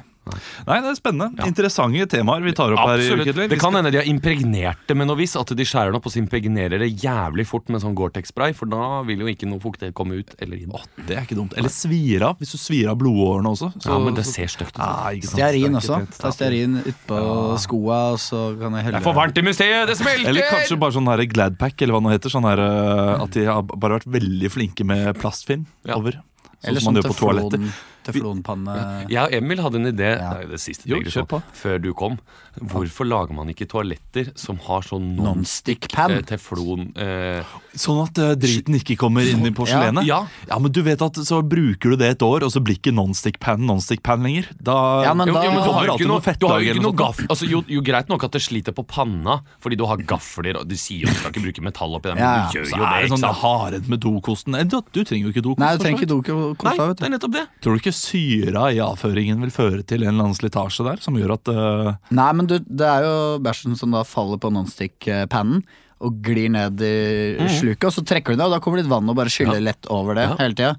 Speaker 1: nei, det er spennende. Interessante temaer vi tar opp her. i
Speaker 2: Absolutt.
Speaker 1: Ukentlig.
Speaker 2: Det kan hende de har impregnert det med noe visst. At de skjærer det opp og så impregnerer det jævlig fort med sånn Gore-Tex-spray, for da vil jo ikke noe fuktighet komme ut eller inn.
Speaker 1: Det er ikke dumt. Eller svir av, hvis du svir av blodårene også. så-
Speaker 2: Ja, men det ser stygt ut.
Speaker 1: Ah, ikke sant. Det er
Speaker 3: Stearin
Speaker 1: ikke
Speaker 3: også.
Speaker 1: pent.
Speaker 3: Ta stearin utpå skoa, og så kan jeg helle
Speaker 2: Det er for varmt i museet, det smelter!
Speaker 1: Eller kanskje bare sånn her Gladpack, eller hva det heter. Sånn her, eh, at de har bare vært veldig flinke med plastfilm
Speaker 2: Ja.
Speaker 1: over. Sånn
Speaker 3: Eller
Speaker 1: som man
Speaker 3: sånn
Speaker 1: gjør på toaletter.
Speaker 3: teflon, teflonpanne
Speaker 2: Jeg og Emil hadde en idé
Speaker 3: Ja.
Speaker 2: det er jo det siste
Speaker 1: Jo,
Speaker 2: jeg
Speaker 1: kjør på.
Speaker 2: på. før du kom. Hvorfor lager man ikke toaletter som har sånn non
Speaker 3: Nonstick-pan.
Speaker 2: eh, teflon eh,
Speaker 1: Sånn at eh, driten ikke kommer inn
Speaker 3: Sånn,
Speaker 1: i porselenet?
Speaker 2: Ja,
Speaker 1: men du vet at så bruker du det et år, og så blir ikke nonstick-pan nonstick-pan lenger. Da
Speaker 3: Ja, men
Speaker 2: jo,
Speaker 3: da-
Speaker 2: jo, men du
Speaker 1: kommer
Speaker 2: har jo
Speaker 1: alltid
Speaker 2: ikke
Speaker 1: noe
Speaker 2: noe, du har jo
Speaker 1: fettlag
Speaker 2: ikke
Speaker 1: eller
Speaker 2: noe
Speaker 1: noe
Speaker 2: gaff... Altså, jo, jo, greit nok at det sliter på panna fordi du har gafler og de sier jo du skal ikke bruke metall oppi der, men
Speaker 3: Ja,
Speaker 2: du gjør
Speaker 1: Så
Speaker 2: jo det,
Speaker 1: er det
Speaker 2: ikke
Speaker 1: sånn
Speaker 2: sant?
Speaker 1: harent med dokosten. Nei, Du, du trenger jo ikke dokost.
Speaker 3: Nei, du
Speaker 1: for så
Speaker 3: trenger
Speaker 1: vidt.
Speaker 3: ikke
Speaker 2: Nei,
Speaker 3: dokosa, vet
Speaker 2: det
Speaker 3: du.
Speaker 2: er nettopp det.
Speaker 1: Tror du ikke syra i avføringen vil føre til en eller annen slitasje der, som gjør at eh,
Speaker 3: Nei, men du, det er jo bæsjen som da faller på nonstick-pannen og glir ned i
Speaker 1: Mhm.
Speaker 3: sluket, og så trekker du det, og da kommer litt vann og bare skyller lett over det hele tida.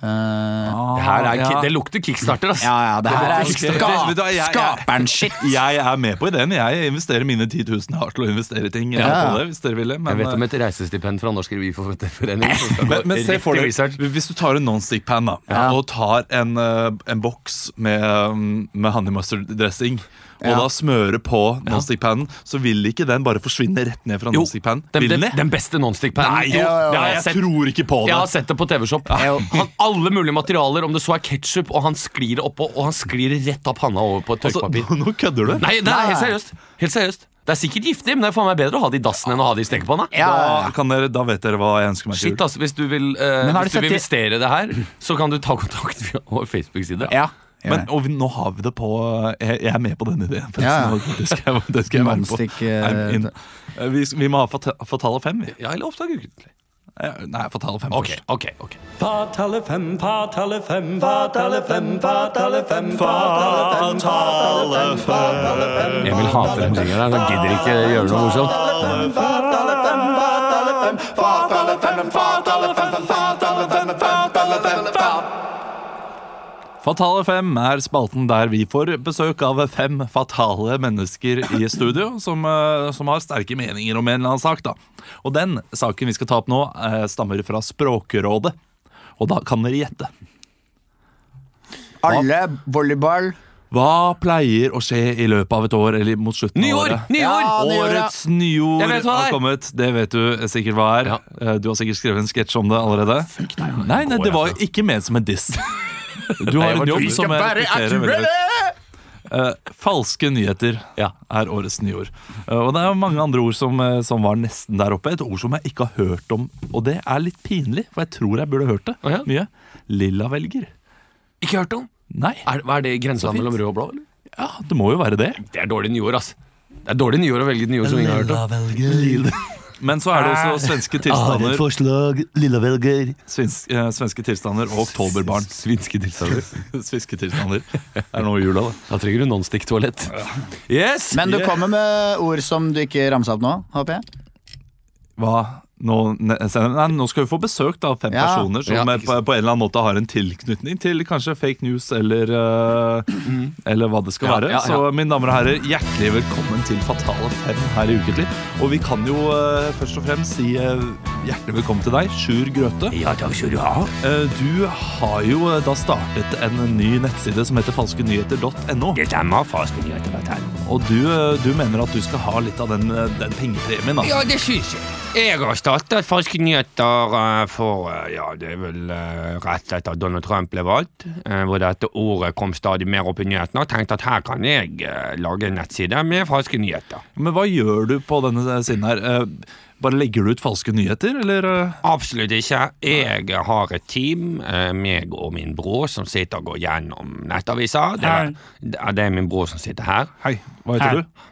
Speaker 2: Det, her er, ki-
Speaker 1: ja.
Speaker 2: det lukter kickstarter, altså. ass.
Speaker 3: ja, ja, det her er
Speaker 1: Ah. Ok, vet du hva, jeg- jeg-
Speaker 3: skap skaperen-shit.
Speaker 1: Jeg er med på ideen. Jeg investerer mine 10 000 jeg har til å investere i ting. eh,
Speaker 3: Ja.
Speaker 1: På det, hvis dere ville, men,
Speaker 2: Jeg vet om
Speaker 1: eh,
Speaker 2: et reisestipend fra Norsk revyforening. som
Speaker 1: (laughs)
Speaker 2: skal
Speaker 1: men,
Speaker 2: gå
Speaker 1: men se
Speaker 2: rett
Speaker 1: for
Speaker 2: i
Speaker 1: deg,
Speaker 2: research.
Speaker 1: hvis du tar en nonstick-pan da, og tar en, eh, en boks med, um, med honey mustard-dressing, og da smører på nonstick-pannen, så vil ikke den bare forsvinne rett ned fra
Speaker 2: Jo,
Speaker 1: nonstick-pannen.
Speaker 2: den,
Speaker 1: Vil
Speaker 2: den,
Speaker 1: den det?
Speaker 2: den beste nonstick-pannen.
Speaker 1: Nei, jo,
Speaker 2: Det har
Speaker 1: nei,
Speaker 2: jeg
Speaker 1: jeg
Speaker 2: sett.
Speaker 1: tror ikke på
Speaker 2: Jeg har
Speaker 1: det.
Speaker 2: sett det på TV-Shop.
Speaker 3: Ja.
Speaker 2: Han- Alle mulige materialer, om det så er ketsjup, og han sklir oppå, og han sklir rett opp panna over på et
Speaker 1: Altså, (laughs)
Speaker 2: tørkepapir.
Speaker 1: nå, nå kødder du.
Speaker 2: Nei, det er helt seriøst. Helt seriøst. Det er sikkert giftig, men det er faen meg bedre å ha det i dassen enn å ha det i stekepanna.
Speaker 1: Da, kan dere, da vet dere hva jeg ønsker meg til
Speaker 2: Shit,
Speaker 1: jul.
Speaker 2: ass, Hvis du vil, eh,
Speaker 3: Men har
Speaker 2: hvis
Speaker 3: du
Speaker 2: du vil
Speaker 3: sett
Speaker 2: investere i det her, så kan du ta kontakt via vår Facebook-side.
Speaker 3: Ja. Gjør
Speaker 1: Men,
Speaker 3: det.
Speaker 1: og vi- nå har vi det på Jeg, jeg er med på den ideen. forresten.
Speaker 3: Ja, ja.
Speaker 1: (laughs) Nå- Det skal jeg, det skal jeg være på.
Speaker 3: Nonstick, eh,
Speaker 1: I'm in. Eh, Vi, vi må ha fata- Fatale fem. vi.
Speaker 2: Ja, eller oppdag ukentlig.
Speaker 1: Eh, Nei, Fatale fem
Speaker 2: Ok,
Speaker 1: først.
Speaker 2: ok, ok.
Speaker 5: Fatale fem, fatale fem, fatale fem, fatale fem, fatale fem, fatale fem, fatale fem.
Speaker 2: Emil hater den tingen der. Han gidder ikke gjøre noe morsomt.
Speaker 1: Fatale fem er spalten der vi får besøk av fem fatale mennesker i studio (laughs) som, eh, som har sterke meninger om en eller annen sak. da. Og den saken vi skal ta opp nå, eh, stammer fra Språkrådet. Og da kan dere gjette.
Speaker 3: Alle volleyball.
Speaker 1: Hva pleier å skje i løpet av et år eller mot slutten av
Speaker 2: Nyår!
Speaker 1: året?
Speaker 2: Nyår!
Speaker 3: Ja, nyår, ja.
Speaker 1: Årets nyord
Speaker 2: Jeg vet hva det
Speaker 1: har
Speaker 2: er.
Speaker 1: kommet. Det vet du sikkert hva er.
Speaker 2: Ja.
Speaker 1: Eh, Du har sikkert skrevet en sketsj om det allerede. Nei, nei, det var jo ikke ment som en diss.
Speaker 2: (laughs)
Speaker 1: Du har en jobb som jeg respekterer veldig godt. Eh, falske nyheter
Speaker 2: Ja.
Speaker 1: er årets nyord. Eh, og det er mange andre ord som, eh, som var nesten der oppe. Et ord som jeg ikke har hørt om, og det er litt pinlig, for jeg tror jeg burde hørt det
Speaker 2: Å ja.
Speaker 1: mye. Lillavelger.
Speaker 2: Ikke hørt om?
Speaker 1: Nei.
Speaker 2: Er, hva er det grensa mellom rød og blå? Eller?
Speaker 1: Ja, det må jo være det.
Speaker 2: Det er dårlig nyår, ass. Det er dårlig nyår å velge et nyår som ingen har hørt om.
Speaker 1: Men så er det også svenske tilstander
Speaker 2: forslag, lilla velger.
Speaker 1: Svensk, eh, svenske tilstander og oktoberbarn.
Speaker 2: Svinske tilstander.
Speaker 1: Svenske tilstander. (laughs) Det er nå jula, da.
Speaker 2: Da trenger du nonstick-toalett. Yes!
Speaker 3: Men du
Speaker 1: Yeah.
Speaker 3: kommer med ord som du ikke ramsa opp nå, håper jeg?
Speaker 1: Hva? Nå, ne- sen- nei, nå skal vi få besøk da, av fem
Speaker 3: Ja.
Speaker 1: personer som
Speaker 2: Ja,
Speaker 1: eh,
Speaker 2: ikke
Speaker 1: på, på en eller annen måte har en tilknytning til kanskje fake news eller, eh, eller hva det skal
Speaker 2: Ja,
Speaker 1: være.
Speaker 2: ja, ja.
Speaker 1: Så mine damer og herrer, hjertelig velkommen til Fatale fem her i Uketlig. Og vi kan jo eh, først og fremst si eh, hjertelig velkommen til deg, Sjur Grøthe.
Speaker 4: Ja, takk skal du ha.
Speaker 1: Eh, Du har jo eh, da startet en ny nettside som heter falskenyheter.no.
Speaker 4: Det stemmer. Farsken gjør det hvert
Speaker 1: Og du, eh, du mener at du skal ha litt av den, eh, den pengepremien. Da.
Speaker 4: Ja, det syns jeg. Jeg har startet Falske nyheter eh, for eh, ja, det er vel eh, rett etter at Donald Trump ble valgt, eh, hvor dette ordet kom stadig mer opp i nyhetene, og tenkte at her kan jeg eh, lage en nettside med falske nyheter.
Speaker 1: Men hva gjør du på denne eh, siden her? Eh, Bare legger du ut falske nyheter, eller? eh?
Speaker 4: Absolutt ikke. Jeg har et team, eh, meg og min bror, som sitter og går gjennom nettaviser. Det er, det er min bror som sitter her.
Speaker 1: Hei, hva heter du?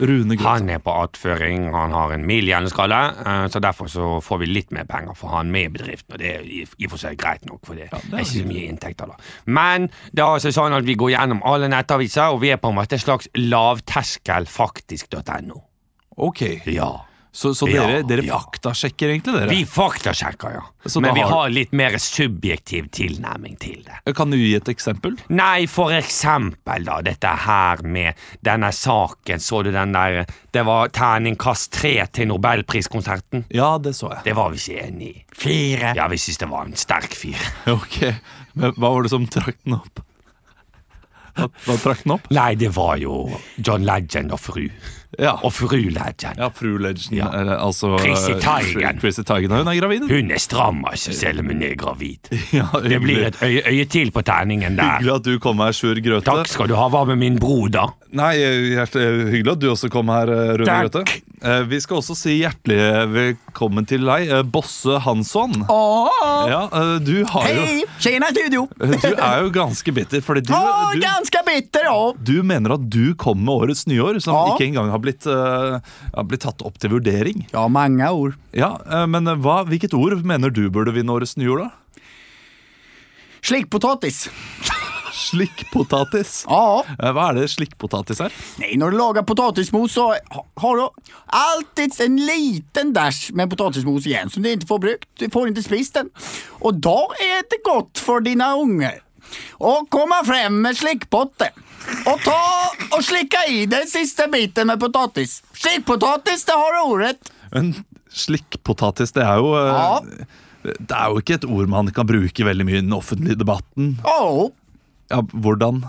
Speaker 1: Rune Grøthe.
Speaker 4: Han er på attføring, han har en mild hjerneskalle, eh, så derfor så får vi litt mer penger for han med i bedriften, og det er i i og for seg greit nok, for det
Speaker 1: det er
Speaker 4: er ikke så mye inntekter da. Men det er altså sånn at vi går gjennom alle nettaviser, og vi er på en måte et slags lavterskelfaktisk.no.
Speaker 1: Ok,
Speaker 4: Ja.
Speaker 1: så, så dere,
Speaker 4: Ja,
Speaker 1: dere
Speaker 4: ja.
Speaker 1: faktasjekker egentlig, dere?
Speaker 4: Vi faktasjekker, ja.
Speaker 1: Så da
Speaker 4: Men vi
Speaker 1: har-
Speaker 4: har litt mer subjektiv tilnærming til det.
Speaker 1: Eh, Kan du gi et eksempel?
Speaker 4: Nei, for eksempel da, dette her med denne saken, så du den der, det var terningkast 3 til Nobelpriskonserten.
Speaker 1: Ja, det så jeg.
Speaker 4: Det var vi ikke enige i.
Speaker 3: Fire.
Speaker 4: Ja, vi synes det var en sterk fyr.
Speaker 1: Ok, men hva var det som trakk den opp? Hva, hva trakk den opp?
Speaker 4: Nei, det var jo John Legend og fru.
Speaker 1: Ja,
Speaker 4: Og fru Legend.
Speaker 1: ja fru Legend,
Speaker 4: Ja.
Speaker 1: eller altså
Speaker 4: Chrissy
Speaker 1: eh,
Speaker 4: Teigen.
Speaker 1: Chrissy Teigen, hun er gravid. hun.
Speaker 4: Hun er stram, altså, selv om hun er gravid.
Speaker 1: Ja,
Speaker 4: Det blir
Speaker 1: hyggelig.
Speaker 4: et øye, øye til på terningen der.
Speaker 1: Hyggelig at du kom her, Sjur Grøthe.
Speaker 4: Takk skal du ha. Hva med min bror, da?
Speaker 1: Nei, hjertelig Hyggelig at du også kom her, eh, Rune
Speaker 4: Takk.
Speaker 1: Grøthe. Eh, Vi skal også si hjertelig velkommen til deg, eh, Bosse Hansson.
Speaker 3: Åh,
Speaker 1: Ja, eh, du har
Speaker 3: Hei! Tjena, studio!
Speaker 1: jo Du er jo ganske bitter, fordi du,
Speaker 3: Å,
Speaker 1: du,
Speaker 3: ganske bitter, ja!
Speaker 1: du mener at du kom med årets nyår, som
Speaker 3: Ja.
Speaker 1: ikke engang har blitt, eh, har blitt tatt opp til vurdering.
Speaker 3: Ja, mange ord.
Speaker 1: Ja, eh, Men eh, hva, hvilket ord mener du burde vinne årets nyår, da?
Speaker 3: Slikkpotatis.
Speaker 1: Slikkpotatis.
Speaker 3: Ja.
Speaker 1: Eh, Hva er det slikkpotatis er?
Speaker 3: Nej, når du lagar potatismos så ha- har du alltid en liten dash med potatismos igen som du inte får brukt. Du får inte spist den. Och då är det gott för dina ungar. Och komma fram med slickpotten. Och ta och slicka i den sista biten med potatis. Slickpotatis, det har du ordet.
Speaker 1: Men slikkpotatis, det er jo eh,
Speaker 3: Ja.
Speaker 1: Det er jo ikke et ord man kan bruke veldig mye i den offentlige debatten.
Speaker 3: Ja.
Speaker 1: Ja, hvordan?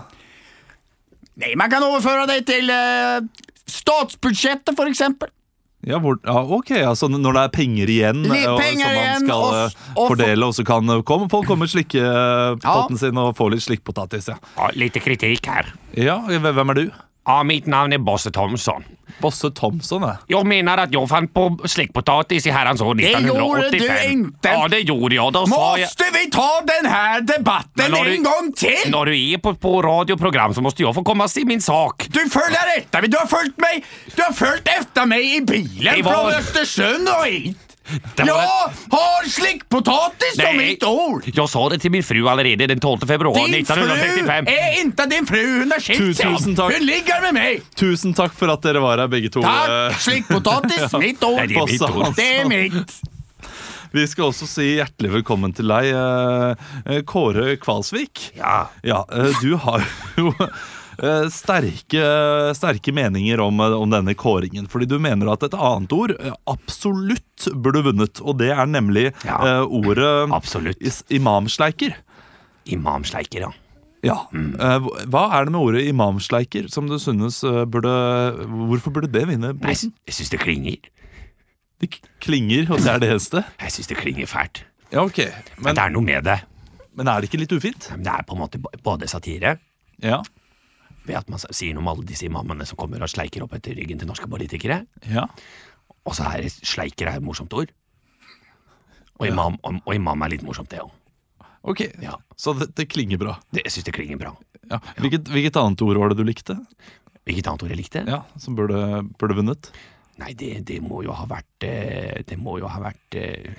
Speaker 3: Nej, man kan överföra det till eh, statsbudgeten för exempel.
Speaker 1: Ja, hvor, ja, ok, altså Når det er penger igjen
Speaker 3: Litt
Speaker 1: eh, og,
Speaker 3: penger
Speaker 1: som man
Speaker 3: igjen,
Speaker 1: skal
Speaker 3: og-
Speaker 1: eh,
Speaker 3: og-
Speaker 1: fordele, og så kan eh, kom, folk komme og slikke eh, potten sin og få litt slikkpotatis. Ja.
Speaker 4: Ja, Litt kritikk her.
Speaker 1: ja, hvem er du?
Speaker 4: Ja, mitt navn er Bosse Thomsson.
Speaker 1: Bosse Thomsson, jeg.
Speaker 4: Jeg mener at jeg fant på slikpotatis i herrens år 1985.
Speaker 3: gjorde du inte.
Speaker 4: Ja, det gjorde jeg. Da sa jeg
Speaker 3: Måste vi ta den här debatten
Speaker 4: Men har du-
Speaker 3: en gång till?
Speaker 4: Når du er på, på radioprogram, så må jeg få komme og si min sak.
Speaker 3: Du följer efter mig, du har följt mig, du har följt efter mig i
Speaker 4: Det
Speaker 3: bilen
Speaker 4: var-
Speaker 3: från Östersund och hit.
Speaker 4: Det var
Speaker 3: Jag har slickpotatis som
Speaker 4: Nej.
Speaker 3: mitt ord.
Speaker 4: Jeg sa det til min fru allerede den 12. februar
Speaker 3: Din fru
Speaker 4: 1965.
Speaker 3: är inte din fru, hon har skilt sig.
Speaker 1: Tusen tack.
Speaker 3: Hon ligger med mig.
Speaker 1: Tusen takk for at dere var her, begge to.
Speaker 3: Tack,
Speaker 1: Eh,
Speaker 3: slickpotatis,
Speaker 4: (laughs)
Speaker 3: mitt ord.
Speaker 4: Nej, det är mitt ord.
Speaker 1: Bosse
Speaker 3: Det är
Speaker 1: Hansson.
Speaker 3: mitt.
Speaker 1: Vi skal også si hjertelig velkommen til deg, eh, Kåre Kvalsvik.
Speaker 4: Ja.
Speaker 1: Ja, eh, du har (laughs) jo eh, sterke, sterke meninger om, eh, om denne kåringen. Fordi du mener at et annet ord eh, absolutt burde vunnet, og det er nemlig
Speaker 4: Ja.
Speaker 1: eh, ordet
Speaker 4: Absolutt.
Speaker 1: is- imamsleiker.
Speaker 4: Imamsleiker, ja.
Speaker 1: Ja. Eh, hv- Hva er det med ordet imamsleiker som du synes eh, burde Hvorfor burde det vinne
Speaker 4: Nei,
Speaker 1: prisen?
Speaker 4: jeg syns det klinger.
Speaker 1: Det k- klinger, og det er det eneste.
Speaker 4: Jeg syns det klinger fælt.
Speaker 1: Ja, ok.
Speaker 4: Men
Speaker 1: Men,
Speaker 4: det er noe med det.
Speaker 1: men er det ikke litt ufint?
Speaker 4: Men Det er på en måte ba- både satire
Speaker 1: Ja.
Speaker 4: ved at man s- sier noe om alle disse imamene som kommer og sleiker opp etter ryggen til norske politikere.
Speaker 1: ja.
Speaker 4: Og så er det sleiker er et morsomt ord. Og imam, og, og imam er litt morsomt, det òg.
Speaker 1: Ok,
Speaker 4: Ja.
Speaker 1: så det, det klinger bra.
Speaker 4: Jeg syns det klinger bra.
Speaker 1: Ja. Hvilket, hvilket annet ord var det du likte?
Speaker 4: Hvilket annet ord jeg likte?
Speaker 1: Ja, Som burde, burde vunnet? (laughs)
Speaker 4: Nei, det, det må jo ha vært eh, Det må jo ha vært eh,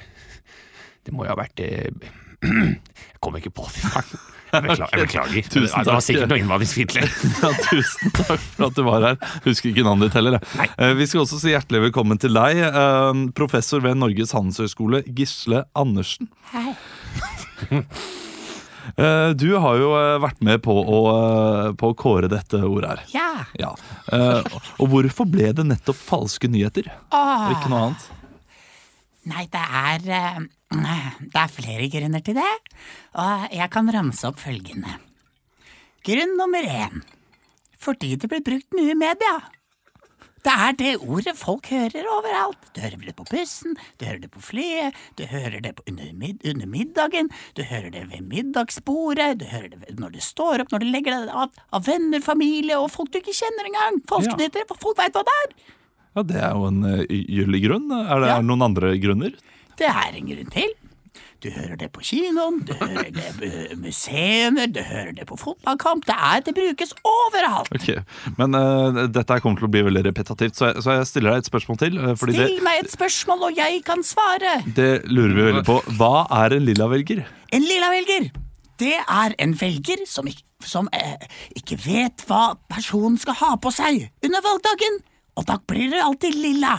Speaker 4: Det må jo ha vært eh, (clears throat) Jeg kommer ikke på det i farten. Jeg
Speaker 3: (laughs)
Speaker 4: beklager. Jeg beklager.
Speaker 1: Tusen
Speaker 4: det var
Speaker 1: takk.
Speaker 4: sikkert noe innvandringsfiendtlig.
Speaker 1: Ja, tusen takk for at du var her. Husker ikke navnet ditt heller. jeg. Eh, Vi skal også si hjertelig velkommen til deg, eh, professor ved Norges handelshøyskole, Gisle Andersen. Eh, Du har jo eh, vært med på å, eh, på å kåre dette ordet her.
Speaker 6: Ja.
Speaker 1: Ja. Eh, Og hvorfor ble det nettopp falske nyheter?
Speaker 6: Ah.
Speaker 1: Og Ikke noe annet?
Speaker 6: Nei, det er eh, Det er flere grunner til det. Og jeg kan ramse opp følgende. Grunn nummer én. Fordi det blir brukt mye i media. Det er det ordet folk hører overalt. Du hører det på bussen, du hører det på flyet, du hører det på under, mid under middagen, du hører det ved middagsbordet, du hører det ved- når du står opp, når du legger deg av, av venner, familie og folk du ikke kjenner engang.
Speaker 1: Ja.
Speaker 6: Folkenyttere, for folk veit hva det er.
Speaker 1: Ja, Det er jo en eh, gyldig grunn. Er det
Speaker 6: Ja.
Speaker 1: er det noen andre grunner?
Speaker 6: Det er en grunn til. Du hører det på kinoen, du hører det på eh, museene, du hører det på fotballkamp. Det er, det brukes overalt.
Speaker 1: Ok, Men eh, dette her kommer til å bli veldig repetitivt, så jeg, så jeg stiller deg et spørsmål til. eh, fordi det,
Speaker 6: Still meg et spørsmål, og jeg kan svare.
Speaker 1: det lurer vi veldig på. Hva er en lillavelger?
Speaker 6: En lilla velger, det er en velger som, ikke, som eh, ikke vet hva personen skal ha på seg under valgdagen. Og da blir det alltid lilla.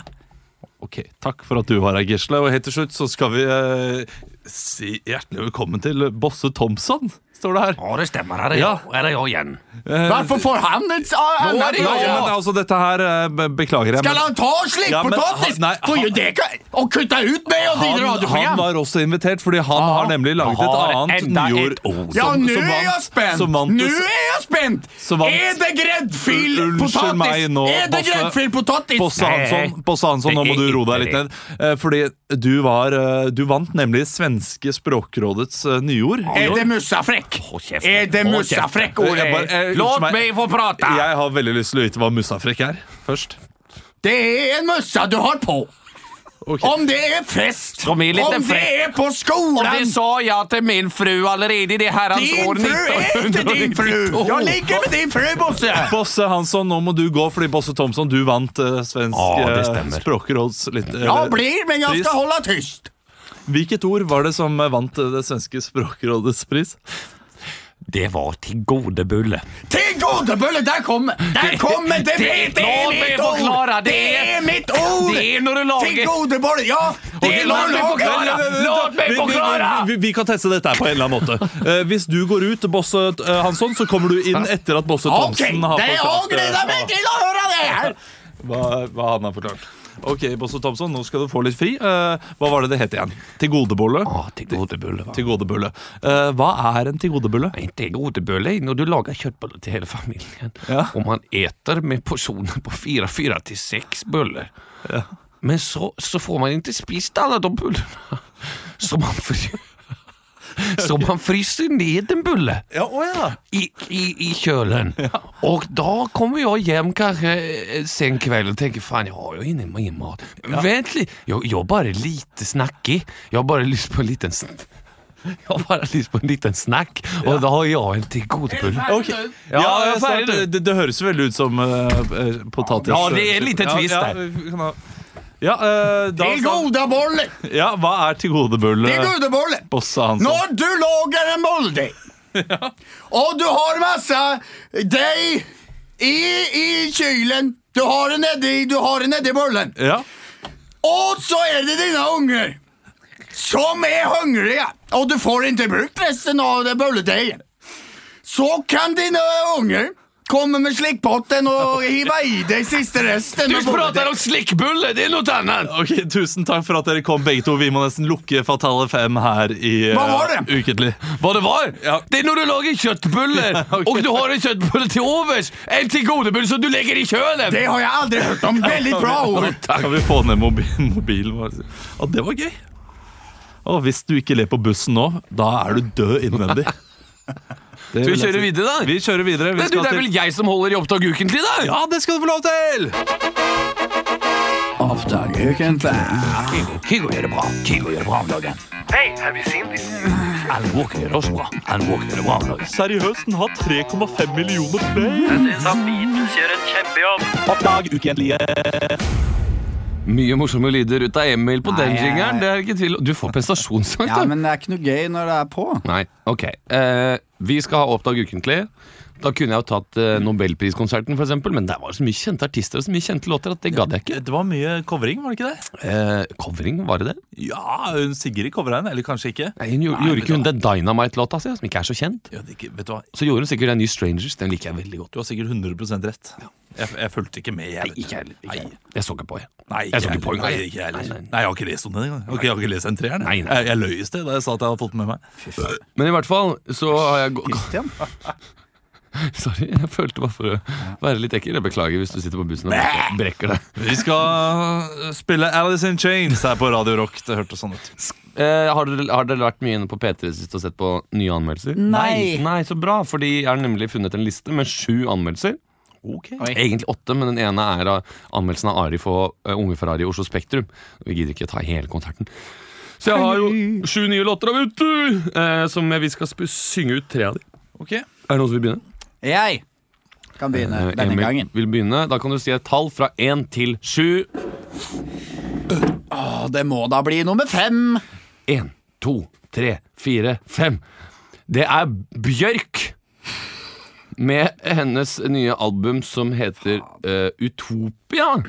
Speaker 1: Ok, Takk for at du var her, Gisle. Og helt til slutt så skal vi eh, si hjertelig velkommen til Bosse Thomsson, står det her.
Speaker 4: Ja, det stemmer. Her er jeg,
Speaker 1: Ja.
Speaker 4: her er jeg igjen.
Speaker 1: Eh,
Speaker 3: Varför får han ett
Speaker 1: Nei,
Speaker 3: annat
Speaker 1: men
Speaker 3: ord?
Speaker 1: altså, dette her eh, be- Beklager jeg.
Speaker 3: Skal
Speaker 1: men-
Speaker 3: han ta slickpotatis?
Speaker 1: Ja, men han- nei,
Speaker 3: Får ju
Speaker 1: han-
Speaker 3: det och kutta ut mig och din
Speaker 1: han, han
Speaker 3: radioprogram.
Speaker 1: var også invitert, fordi han har nemlig laget et
Speaker 4: har
Speaker 1: annet
Speaker 4: enda
Speaker 1: nyord.
Speaker 4: et ord.
Speaker 1: som-
Speaker 3: Ja,
Speaker 1: som
Speaker 3: nå
Speaker 1: vant-
Speaker 3: er jeg spent!
Speaker 1: som vant
Speaker 3: Nå
Speaker 1: det-
Speaker 3: er jeg spent!
Speaker 1: som vant-
Speaker 3: Er det greddfyll
Speaker 1: Unnskyld
Speaker 3: potatis?
Speaker 1: meg nå,
Speaker 3: er det
Speaker 1: Bosse.
Speaker 3: greddfyll potatis?
Speaker 1: Bosse Hansson, Bosse Hansson nå
Speaker 4: det
Speaker 1: må du
Speaker 4: er
Speaker 1: roe
Speaker 4: ikke
Speaker 1: deg litt ned. Eh, Fordi du, var, eh, du vant nemlig Svenske Språkrådets eh, nyord.
Speaker 3: Er det mussafrekk?
Speaker 4: Hold kjeft.
Speaker 3: Er det
Speaker 4: Hold kjeft.
Speaker 3: mussafrekk, Ole?
Speaker 1: Jeg bare- jeg-
Speaker 4: Eh, Låt
Speaker 1: unnskyld meg.
Speaker 4: meg få prate!
Speaker 1: Jeg har veldig lyst til å vite hva mussafrekk er. Først.
Speaker 3: Det er en mussa du har på.
Speaker 1: Ok.
Speaker 3: Om det er fest,
Speaker 4: Som er litt
Speaker 3: om det
Speaker 4: frekk.
Speaker 3: er på
Speaker 4: Og
Speaker 3: skolen
Speaker 4: det sa jeg til min fru allerede i det herrens
Speaker 1: Altså,
Speaker 3: Din
Speaker 4: år
Speaker 3: fru er
Speaker 1: (laughs)
Speaker 3: ikke din fru!
Speaker 4: 1992.
Speaker 3: Jeg ligger med din fru, Bosse!
Speaker 1: Bosse Hansson, nå må du gå, fordi Bosse Thomsson, du vant eh, Svensk
Speaker 4: Ja, det
Speaker 1: eh,
Speaker 4: stemmer.
Speaker 1: Språkråds litt, eh,
Speaker 3: Jeg blir, men jeg
Speaker 1: pris.
Speaker 3: skal holde tyst.
Speaker 1: Hvilket ord var det som eh, vant eh, det svenske språkrådets pris?
Speaker 4: Det var til gode bulle.
Speaker 3: Til godebølle, der kommer Der kommer det! Det,
Speaker 4: (laughs) det-
Speaker 3: er
Speaker 4: la meg
Speaker 3: mitt ord!
Speaker 4: forklare, det
Speaker 3: Det
Speaker 4: er-
Speaker 3: er mitt ord!
Speaker 4: Det er når du
Speaker 3: Til
Speaker 4: lager
Speaker 3: godebølle, ja! Det er
Speaker 4: la
Speaker 3: når du
Speaker 4: meg forklare.
Speaker 3: lager
Speaker 4: La meg
Speaker 1: Vi- vi-
Speaker 4: forklare!
Speaker 1: Vi, vi, vi kan teste dette her på en eller annen måte. Eh, hvis du går ut, Bosse eh, Hansson, så kommer du inn etter at Bosse
Speaker 3: Ok,
Speaker 1: Thomsen Sånn har
Speaker 3: det jeg
Speaker 1: forklart
Speaker 3: gleder
Speaker 1: eh,
Speaker 3: meg til å høre det her!
Speaker 1: hva, hva han har forklart. Ok, Bosse Thomsson, nå skal du få litt fri. Eh, hva var det det het igjen? Tilgodebolle?
Speaker 4: Å, til gode bulle, hva?
Speaker 1: Tilgodebulle. Eh, hva er en tilgodebølle?
Speaker 4: Ikke godebølle når du lager kjøttboller til hele familien.
Speaker 1: Ja.
Speaker 4: Og man eter med porsjoner på fire, fire til seks bøller. Men så, så får man ikke spist alle de bullene. Så man får Så man fryser ned en bulle
Speaker 1: Ja, å ja.
Speaker 4: i, i, i kjølen. Og da kommer jeg hjem kanskje eh, sen kveld og tenker faen, jeg har jo ingen, ingen mat. Men Vent litt, jeg, jeg er bare lite snakkig. Jeg har bare lyst på en liten sn- (laughs) jeg har bare lyst på en liten snack, og da har jeg en til god bulle.
Speaker 1: Ok. Ja,
Speaker 4: jeg er
Speaker 1: snart,
Speaker 4: ferdig, du.
Speaker 1: det, det høres veldig ut som eh, eh, potatis.
Speaker 4: Ja, det er en liten
Speaker 1: Ja,
Speaker 4: twist
Speaker 1: ja,
Speaker 4: der.
Speaker 1: vi kan ha- Ja, eh, da,
Speaker 3: Til gode bolle!
Speaker 1: ja, hva er til gode bulle,
Speaker 3: Til gode bolle!
Speaker 1: Bosse Hansen?
Speaker 3: Når du lager en moldeig, og du har masse deig i, i kylen Du har det nedi, du har det nedi bollen.
Speaker 1: Ja.
Speaker 3: Og så er det dine unger som er hungrige, og du får ikke brukt resten av det bolledeigen. Så kan dine unger komme med slikkpotten og hive i deg siste resten.
Speaker 4: Du
Speaker 3: av
Speaker 4: prater
Speaker 3: bolledeigen.
Speaker 4: om slikkbulle, det er noe annet!
Speaker 1: Ok, Tusen takk for at dere kom, begge to. Vi må nesten lukke Fatale 5 her i eh,
Speaker 3: Hva var det?
Speaker 1: (laughs) Ukentlig.
Speaker 4: Hva det var? Det er når du lager kjøttbuller, og du har en kjøttbulle til overs, en til godebulle som du legger i kjølen!
Speaker 3: Det har jeg aldri hørt om. Veldig bra ord.
Speaker 1: Kan vi få ned mobi mobilen vår? Å, det var gøy. Og hvis du ikke ler på bussen nå, da er du død (laughs) innvendig. Det vil
Speaker 4: Skal vi
Speaker 1: jeg
Speaker 4: kjøre
Speaker 1: si.
Speaker 4: videre, da?
Speaker 1: Vi kjører videre. Vi
Speaker 4: Men du,
Speaker 1: skal
Speaker 4: det er
Speaker 1: til-
Speaker 4: vel jeg som holder i opptak ukentlig, da?
Speaker 1: Ja, det skal du få lov til!
Speaker 3: Oppdag ukentlig.
Speaker 4: Kygo gjør det bra. Kygo gjør det bra om dagen. Hei, har vi seen this? Alan Walker gjør det også bra. Alan Walker gjør det bra om dagen.
Speaker 1: Seriøst, den har 3,5 millioner play.
Speaker 2: Mye morsomme lyder ut av Emil på
Speaker 3: Nei,
Speaker 2: den
Speaker 3: jeg-
Speaker 2: jingeren. Det er ikke tvil. om. Du får prestasjonssang,
Speaker 3: Ja,
Speaker 2: du.
Speaker 3: men det er ikke noe gøy når det er på.
Speaker 2: Nei, ok. Eh, vi skal ha Oppdag ukentlig. Da kunne jeg jo tatt eh, Nobelpriskonserten, for eksempel, men der var det så mye kjente artister og så mye kjente låter at det gadd jeg ikke.
Speaker 1: Det var mye covering, var det ikke det?
Speaker 2: Eh, covering, var det det?
Speaker 1: Ja, hun Sigrid covra henne, eller kanskje ikke.
Speaker 2: Nei, hun gjorde, gjorde ikke hun den Dynamite-låta si, som ikke er så kjent?
Speaker 1: Ja, det, ikke- vet du hva,
Speaker 2: Så gjorde hun sikkert den nye Strangers. Den liker jeg veldig godt.
Speaker 1: du har sikkert 100 rett. Jeg, jeg fulgte ikke med. Jeg, vet
Speaker 2: Ikke
Speaker 1: du.
Speaker 2: heller.
Speaker 1: Nei,
Speaker 2: Ikke heller. Jeg så ikke på, jeg.
Speaker 1: Nei,
Speaker 2: Jeg så ikke
Speaker 1: heller.
Speaker 2: på engang.
Speaker 1: Nei, ikke jeg heller.
Speaker 2: Nei, nei.
Speaker 1: Nei, jeg har ikke lest om den engang. Ok, jeg har ikke lest den treeren.
Speaker 2: Nei,
Speaker 1: Jeg,
Speaker 2: nei.
Speaker 1: jeg, jeg løy i sted da jeg sa at jeg hadde fått den med meg.
Speaker 2: Men i hvert fall så har jeg gå-
Speaker 3: Christian?
Speaker 2: (laughs) Sorry, jeg følte bare for å være litt ekkel. Jeg beklager hvis du sitter på bussen og brekker- brekker deg.
Speaker 1: Vi skal eh, spille Alice in Chains her på Radio Rock. Det hørtes sånn ut.
Speaker 2: Eh, har, dere, har dere vært mye inne på P3 sist og sett på nye anmeldelser?
Speaker 3: Nei.
Speaker 2: Nei, så bra, fordi jeg har nemlig funnet en liste med sju anmeldelser. Egentlig åtte, men den ene er av anmeldelsen av Arif og eh, Unge Ferrari i Oslo Spektrum. Vi gidder ikke ta hele konserten. Så jeg har jo sju nye låter av ute, eh, som vi skal sp synge ut tre av de.
Speaker 1: Ok.
Speaker 2: Er det noen som vil begynne?
Speaker 3: Jeg kan begynne
Speaker 2: Eh,
Speaker 3: denne
Speaker 2: Emil
Speaker 3: gangen.
Speaker 2: vil begynne. Da kan du si et tall fra én til sju.
Speaker 3: Og det må da bli nummer fem.
Speaker 2: Én, to, tre, fire, fem. Det er Bjørk med hennes nye album som heter eh, Utopia.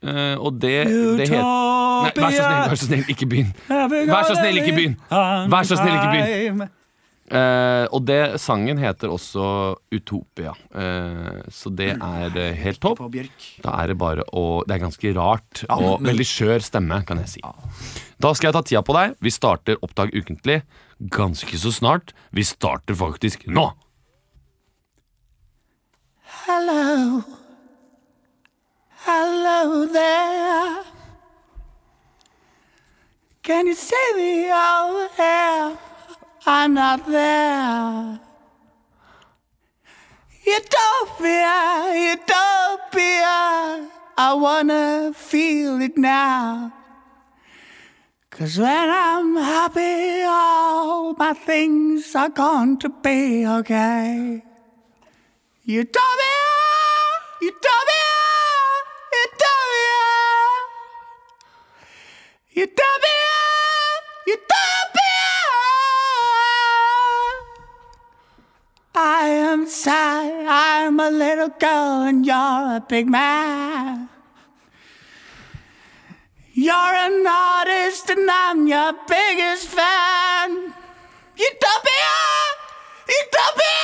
Speaker 2: Eh, og det, det heter Nei, vær så snill, vær så snill, ikke begynn. Vær så snill, ikke begynn. Vær så snill, ikke begynn. Eh, og det sangen heter også Utopia. Eh, så det er eh, helt topp.
Speaker 3: På Bjørk.
Speaker 2: Da er det bare å Det er ganske rart og veldig skjør stemme, kan jeg si. Da skal jeg ta tida på deg. Vi starter Oppdag ukentlig ganske så snart. Vi starter faktisk nå!
Speaker 6: Hello. Hello there. Can you see me over there? I'm not there. Utopia, utopia. I wanna feel it now. Cause when I'm happy, all my things are going to be okay. Utopia! Utopia! Utopia! Utopia! Utopia! I am sad, I'm a little girl, and you're a big man. You're an artist, and I'm your biggest fan. Utopia! Utopia!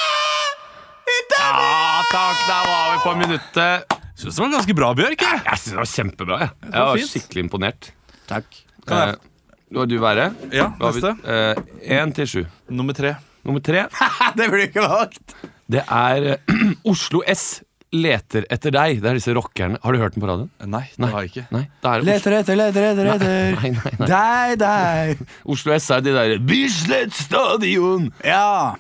Speaker 6: Utopia!
Speaker 2: Ja, takk! Da var vi på minuttet.
Speaker 1: Syns det var ganske bra, Bjørk. jeg.
Speaker 2: Jeg synes det var kjempebra. Jeg, jeg
Speaker 1: var
Speaker 2: var
Speaker 1: fint.
Speaker 2: skikkelig imponert.
Speaker 3: Takk.
Speaker 1: Kan
Speaker 2: Eh, Hva har du være?
Speaker 1: Ja, neste.
Speaker 2: Én til sju.
Speaker 1: Nummer tre.
Speaker 2: Nummer tre,
Speaker 3: Det blir ikke valgt.
Speaker 2: det er eh, (clears throat) Oslo S leter etter deg. Det er disse rockerne. Har du hørt den på radioen?
Speaker 1: Nei, det har jeg ikke.
Speaker 2: Nei, det er
Speaker 3: Leter etter, leter etter, etter.
Speaker 2: Nei, nei, nei.
Speaker 3: Deg, deg.
Speaker 2: Oslo S er de der Bislett stadion!
Speaker 3: Ja.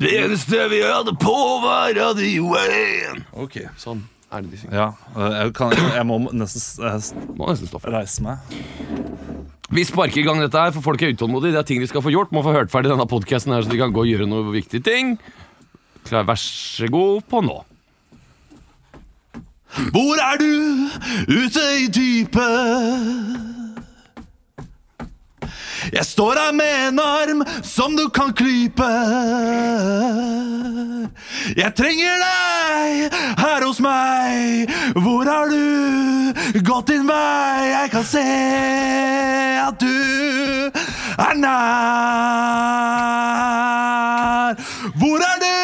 Speaker 2: Det eneste vi hadde på, var radioen!
Speaker 1: Ok.
Speaker 2: Sånn er det de synger.
Speaker 1: Ja, øh, jeg, kan, jeg må nesten s- eh, s-
Speaker 2: Må nesten stå for.
Speaker 1: reise meg.
Speaker 2: Vi sparker i gang dette her, for folk er utålmodige. Det er ting de skal få gjort. Må få hørt ferdig denne podkasten her, så de kan gå og gjøre noe viktige ting. Klar, vær så god på nå.
Speaker 1: Hvor er du ute i dypet? Jeg står her med en arm som du kan klype. Jeg trenger deg her hos meg. Hvor har du gått din vei? Jeg kan se at du er nær. Hvor er du?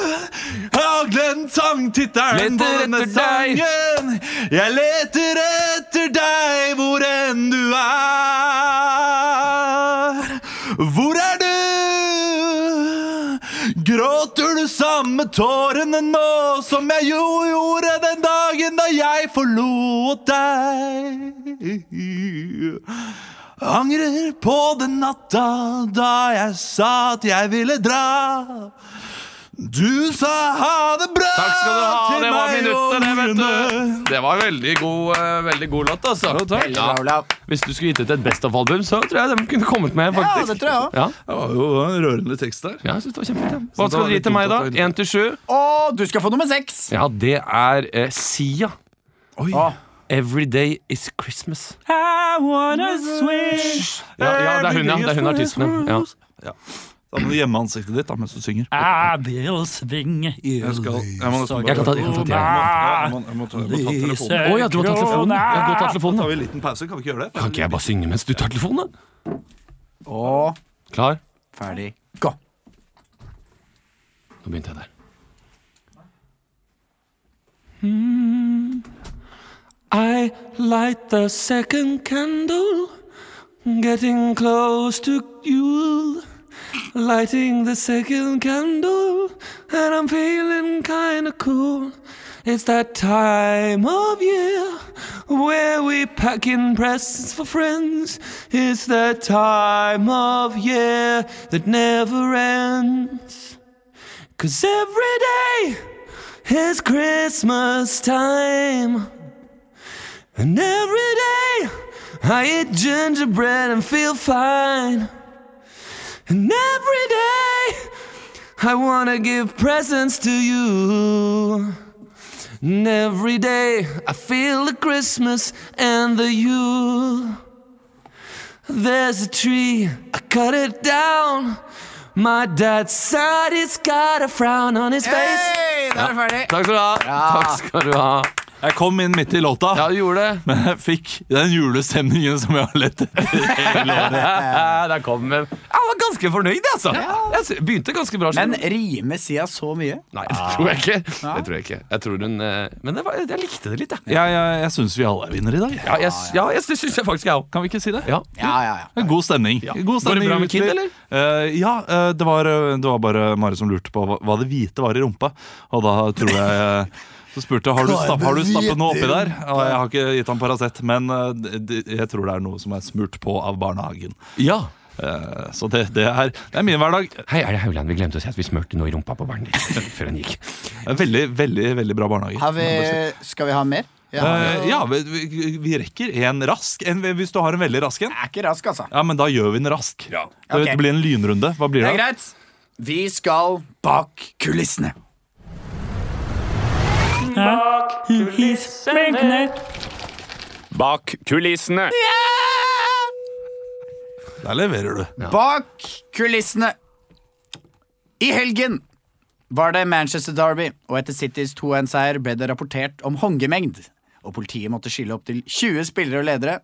Speaker 1: Jeg har glemt sangtittelen på
Speaker 2: Leter
Speaker 1: denne
Speaker 2: etter deg.
Speaker 1: sangen. Jeg leter etter deg hvor enn du er. Hvor er du? Gråter du samme tårene nå som jeg jo gjorde den dagen da jeg forlot deg? Angrer på den natta da jeg sa at jeg ville dra. Du sa ha det bra
Speaker 2: Takk skal du ha.
Speaker 1: til
Speaker 2: Det var
Speaker 1: meg og
Speaker 2: minuttet, det, vet
Speaker 1: mine.
Speaker 2: du. Det var veldig god, eh, veldig god låt, altså.
Speaker 3: Veldig bra, Olav.
Speaker 2: Hvis du skulle gitt ut et Best of-album, så tror jeg de kunne kommet med,
Speaker 3: Ja,
Speaker 2: faktisk.
Speaker 3: det tror jeg òg.
Speaker 2: Ja,
Speaker 1: Det var jo en rørende tekst der.
Speaker 2: ja jeg synes det var kjempefint.
Speaker 1: Så
Speaker 2: Hva
Speaker 1: det
Speaker 2: skal
Speaker 1: var
Speaker 2: du gi
Speaker 1: litt
Speaker 2: til meg, da?
Speaker 1: tungt at det-
Speaker 2: Én til sju?
Speaker 3: Og du skal få nummer seks.
Speaker 2: Ja, det er eh, Sia.
Speaker 1: Oi.
Speaker 2: Ah.
Speaker 3: Å.
Speaker 2: Every day is Christmas.
Speaker 1: Swish.
Speaker 2: Ja, ja det er hun, ja. Det er hun artisten, ja. ja.
Speaker 1: Da må du gjemme ansiktet ditt da, mens du synger.
Speaker 5: Jeg vil svinge i
Speaker 1: Jeg, skal, jeg må nesten bare
Speaker 2: Jeg kan ta det. Jeg kan ta det.
Speaker 1: Jeg må, jeg må, ta, jeg må ta telefonen.
Speaker 2: Å ja, du har tatt telefonen. Ja, du har tatt
Speaker 1: Da
Speaker 2: telefonen.
Speaker 1: tar vi en liten pause, kan vi ikke gjøre det?
Speaker 2: Kan ikke jeg bare synge mens du tar telefonen? da?
Speaker 3: Og
Speaker 2: Klar?
Speaker 3: ferdig, gå.
Speaker 2: Nå begynte jeg der. I light the second candle, getting close to Yule. Lighting the second candle, and I'm feeling kinda cool. It's that time of year where we pack in presents for friends. It's that time of year that never ends. Cause every day is Christmas time. And every day I eat gingerbread and feel fine. And every day I wanna give presents to you. And every day I feel the Christmas and the Yule. There's a tree, I cut it down. My dad's side, it's got a frown on his face.
Speaker 3: Hei, da er du ferdig.
Speaker 2: Takk skal du ha. Takk skal du ha.
Speaker 1: Jeg kom inn midt i låta,
Speaker 2: Ja, du gjorde det.
Speaker 1: men jeg fikk den julestemningen som jeg har lett etter.
Speaker 2: Eh, Der kom den. Jeg var ganske fornøyd, altså. Jeg sy- begynte ganske bra.
Speaker 3: Men
Speaker 2: skjønner du.
Speaker 3: rimer Sia så mye?
Speaker 2: Nei, det tror jeg ikke. Det tror jeg ikke. Jeg tror hun eh, Men det var, jeg likte det litt, jeg.
Speaker 1: Jeg, jeg, jeg syns vi alle er vinnere i dag.
Speaker 2: Ja, jeg, s- ja jeg, det syns jeg faktisk jeg òg.
Speaker 1: Kan vi ikke si det?
Speaker 2: Ja.
Speaker 3: Ja, ja, ja.
Speaker 1: Det er God stemning. God
Speaker 2: Går det
Speaker 1: stemning
Speaker 2: bra med
Speaker 1: ute i-
Speaker 2: Kid, eller?
Speaker 1: Eh, ja, eh, det var, eh, det var bare Mari som lurte på hva, hva det hvite var i rumpa. Og da tror jeg eh, Så spurte jeg har du
Speaker 3: Hva er
Speaker 1: stapp-
Speaker 3: det
Speaker 1: har du stappet
Speaker 3: hvite
Speaker 1: noe oppi
Speaker 3: i
Speaker 1: der. Og jeg har ikke gitt ham Paracet, men eh, det- det- jeg tror det er noe som er smurt på av barnehagen.
Speaker 2: ja.
Speaker 1: Eh, Så det, det, er, det er min hverdag.
Speaker 2: Hei, er det Haugland? Vi glemte å si at vi smurte noe i rumpa på barnet ditt (laughs) før hun gikk.
Speaker 1: En Eh, Veldig, veldig veldig bra barnehage.
Speaker 3: Har vi,
Speaker 1: må jeg bare si.
Speaker 3: skal vi ha mer? Jeg har
Speaker 1: Eh,
Speaker 3: jo-
Speaker 1: ja, vi, vi- vi rekker en rask. En, hvis du har en veldig rask en.
Speaker 3: Jeg er ikke rask, altså.
Speaker 1: Ja, men da gjør vi den rask.
Speaker 3: Ok.
Speaker 1: Det blir en lynrunde. Hva blir
Speaker 3: Det
Speaker 1: det?
Speaker 3: er greit. Vi skal bak kulissene.
Speaker 4: Bak kulissene.
Speaker 1: Der leverer du.
Speaker 3: Bak kulissene. I helgen var det Manchester Derby, og etter Citys 2-1-seier ble det rapportert om hongemengd. Og politiet måtte skille opptil 20 spillere og ledere.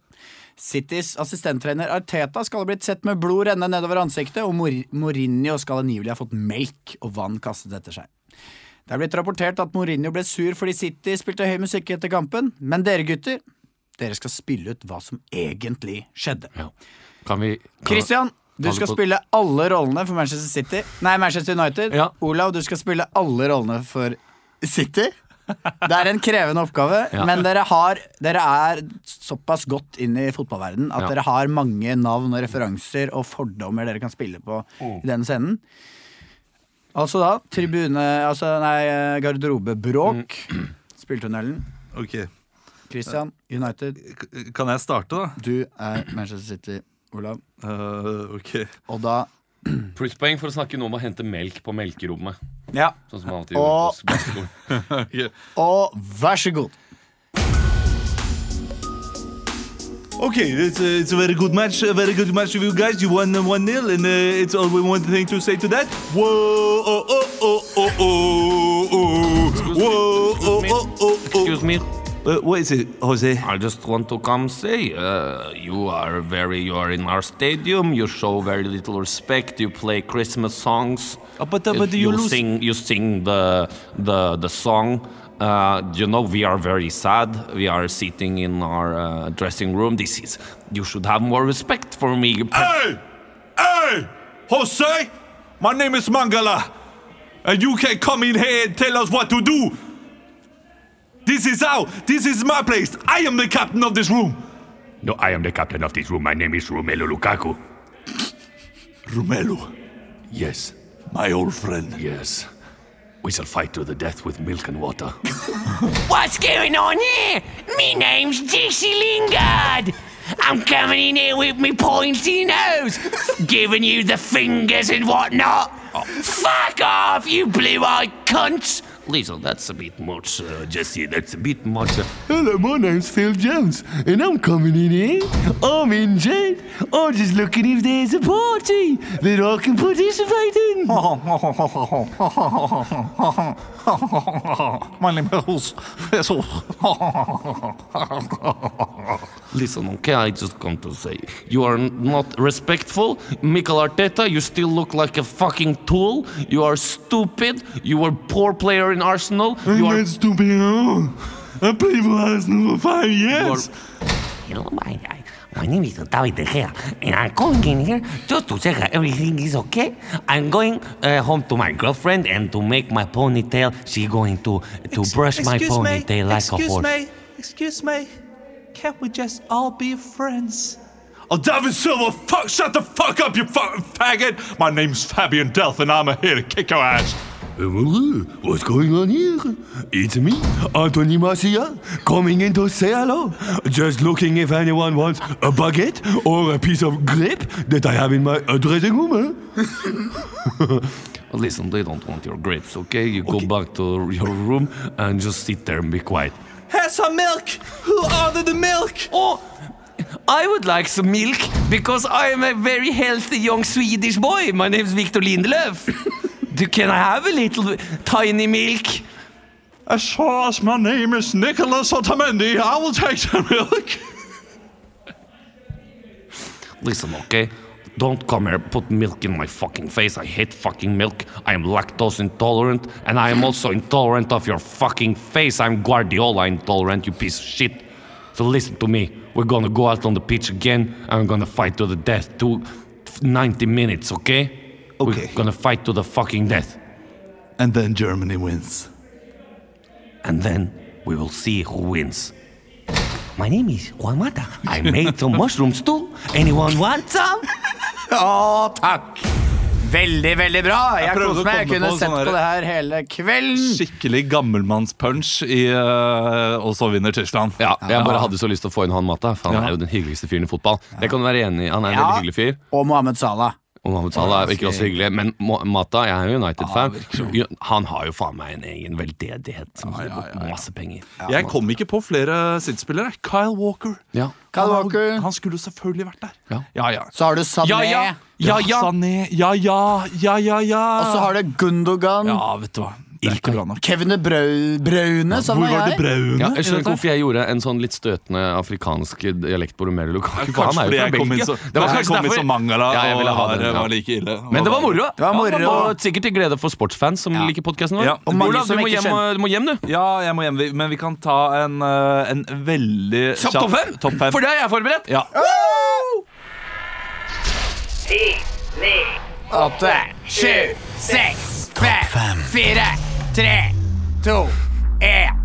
Speaker 3: Citys assistenttrener Arteta skal ha blitt sett med blod renne nedover ansiktet, og Mor Mourinho skal angivelig ha fått melk og vann kastet etter seg. Det er blitt rapportert at Mourinho ble sur fordi City spilte høy musikk etter kampen, men dere gutter, dere skal spille ut hva som egentlig skjedde.
Speaker 2: Ja. Kan vi kan,
Speaker 3: Christian, Du skal spille alle rollene for Manchester City Nei, Manchester United.
Speaker 2: Ja.
Speaker 3: Olav, du skal spille alle rollene for City. Det er en krevende oppgave,
Speaker 2: Ja.
Speaker 3: men dere, har, dere er såpass godt inn i fotballverdenen at
Speaker 2: Ja.
Speaker 3: dere har mange navn og referanser og fordommer dere kan spille på i den scenen. Altså da tribune Altså, nei, garderobebråk.
Speaker 2: Mm.
Speaker 3: Spilltunnelen.
Speaker 1: Ok,
Speaker 3: Christian, United.
Speaker 1: K- Kan jeg starte, da?
Speaker 3: Du er Manchester City, Olav.
Speaker 1: Eh, ok. (laughs)
Speaker 3: Og da
Speaker 2: Plusspoeng for å snakke noe om å hente melk på melkerommet.
Speaker 3: Ja.
Speaker 2: Sånn som man alltid
Speaker 3: Og-
Speaker 2: gjorde på basketball.
Speaker 1: Ok.
Speaker 3: Og vær så god.
Speaker 1: Okay, it's, uh, it's a very good match. A very good match with you guys. You won one 0 and uh, it's only one thing to say to that. Whoa, oh, oh, oh, oh, oh, oh. Whoa, oh, oh, oh, oh.
Speaker 4: (laughs) Excuse me.
Speaker 1: Uh, what is it, Jose?
Speaker 4: I just want to come say uh, you are very you are in our stadium. You show very little respect. You play Christmas songs.
Speaker 1: Uh, but, uh, but you lose-
Speaker 4: sing you sing the the the song. Uh, you know we are very sad. We are sitting in our uh, dressing room. This is you should have more respect for me.
Speaker 1: Hey, hey, Jose. My name is Mangala, and you can come in here and tell us what to do. This is how. This is my place. I am the captain of this room.
Speaker 7: No, I am the captain of this room. My name is Romelu Lukaku.
Speaker 1: Romelu,
Speaker 7: Yes,
Speaker 1: my old friend.
Speaker 7: yes. We shall fight to the death with milk and water.
Speaker 4: (laughs) What's going on here? Me name's Jesse Lingard. I'm coming in here with me pointy nose, giving you the fingers and whatnot. Fuck off, you blue-eyed cunts! Liesl, that's a bit much, uh, Jesse. That's a bit much. Uh,
Speaker 7: Hello, my name's Phil Jones, and I'm coming in here. I'm injured. I'm just looking if there's a party that I can participate in.
Speaker 4: Oh,
Speaker 8: My name is
Speaker 4: Listen, okay, I just come to say, you are not respectful. Mikel Arteta, you still look like a fucking tool. You are stupid. You were poor player in Arsenal. You are
Speaker 1: stupid. I played for Arsenal for five years.
Speaker 9: Hello, my, I, my name is David De Gea, and I'm going in here just to check that everything is okay. I'm going uh, home to my girlfriend and to make my ponytail. She going to to brush my ponytail like a horse.
Speaker 10: me, excuse me. Can't we just all be friends?
Speaker 1: Oh, David Silva, fuck, shut the fuck up, you fucking faggot! My name's Fabian Delph, and I'm here to kick your ass.
Speaker 7: Um, uh, What's going on here? It's me, Anthony Marcia, coming in to say hello. Just looking if anyone wants a baguette or a piece of grape that I have in my uh, dressing room. eh?
Speaker 4: Listen, they don't want your grapes, okay? You go back to your room and just sit there and be quiet.
Speaker 10: Have some milk. Who ordered the milk?
Speaker 4: Oh, I would like some milk because I am a very healthy young Swedish boy. My name's Victor
Speaker 7: (laughs)
Speaker 4: Lindelöf. Do, can I have a little tiny milk?
Speaker 1: As far as my name is Nicholas Otamendi, I will take some milk.
Speaker 4: Listen, okay? Don't come here, put milk in my fucking face. I hate fucking milk. I am lactose intolerant, and I am also intolerant of your fucking face. I'm Guardiola intolerant, you piece of shit. So listen to me. We're gonna go out on the pitch again, and we're gonna fight to the death. To 90 minutes, okay?
Speaker 1: Okay.
Speaker 4: We're gonna fight to the fucking death.
Speaker 1: And then Germany wins.
Speaker 4: And then we will see who wins.
Speaker 9: My name is Juan Mata. I made some (laughs) mushrooms too. Anyone want some?
Speaker 3: Å, takk! Veldig, veldig bra. Jeg,
Speaker 1: prøvde å
Speaker 3: koser meg. Jeg
Speaker 1: komme
Speaker 3: kunne
Speaker 1: på
Speaker 3: sett
Speaker 1: sånn
Speaker 3: på det her hele kvelden.
Speaker 1: Skikkelig gammelmannspunch, i, eh, og så vinner Tyskland.
Speaker 2: Ja, jeg bare hadde så lyst til å få inn han Mata, for han
Speaker 1: Ja.
Speaker 2: er jo den hyggeligste fyren i fotball. Det kan du være enig i. Han er en
Speaker 3: Ja.
Speaker 2: veldig hyggelig fyr.
Speaker 3: Og Mohammed Salah.
Speaker 2: Og Mohammed Salah er ikke også hyggelig, men Mo- Mata, jeg er jo United-fan. Jo, Han har jo faen meg en egen veldedighet som har gått masse penger.
Speaker 1: Jeg kom ikke på flere City-spillere. Kyle Walker.
Speaker 2: Ja.
Speaker 3: Kyle Walker.
Speaker 1: Han skulle jo selvfølgelig vært der.
Speaker 2: Ja.
Speaker 1: ja. ja.
Speaker 3: Så har du Sané.
Speaker 4: Ja, ja, ja, ja.
Speaker 1: Sané. Ja, ja, ja, ja, ja.
Speaker 3: Og så har du Gundogan.
Speaker 1: Ja, vet du hva. Det er ikke bra nok.
Speaker 3: Kevin De Brau- Braune, som
Speaker 1: Hvor var det
Speaker 3: jeg.
Speaker 1: braune?
Speaker 2: Ja, jeg skjønner ikke hvorfor jeg gjorde en sånn litt støtende afrikansk dialekt på Romelu Lukaku.
Speaker 1: Kanskje
Speaker 2: for han er
Speaker 1: fordi
Speaker 2: jo fra
Speaker 1: jeg kom inn
Speaker 2: Belgia.
Speaker 1: så,
Speaker 2: Det var
Speaker 1: jeg
Speaker 2: kanskje
Speaker 1: kom inn
Speaker 2: derfor-
Speaker 1: som Mangala
Speaker 2: Ja, jeg ville
Speaker 1: og
Speaker 2: ha
Speaker 1: var,
Speaker 2: den, ja.
Speaker 1: var like ille.
Speaker 2: Men det var moro.
Speaker 3: Det var moro.
Speaker 2: Og sikkert til glede for sportsfans som liker podkasten vår.
Speaker 1: Ja.
Speaker 3: Og mange
Speaker 2: Olav, du
Speaker 3: som
Speaker 2: må
Speaker 3: ikke
Speaker 2: hjem, og- du må hjem, du.
Speaker 1: Ja, jeg må hjem, Vi- men vi kan ta en, eh, en veldig
Speaker 2: Topp fem!
Speaker 1: Topp fem.
Speaker 2: For det har jeg forberedt!
Speaker 1: Ja.
Speaker 6: åtte, sju, seks, fem, fire, tre, to, én.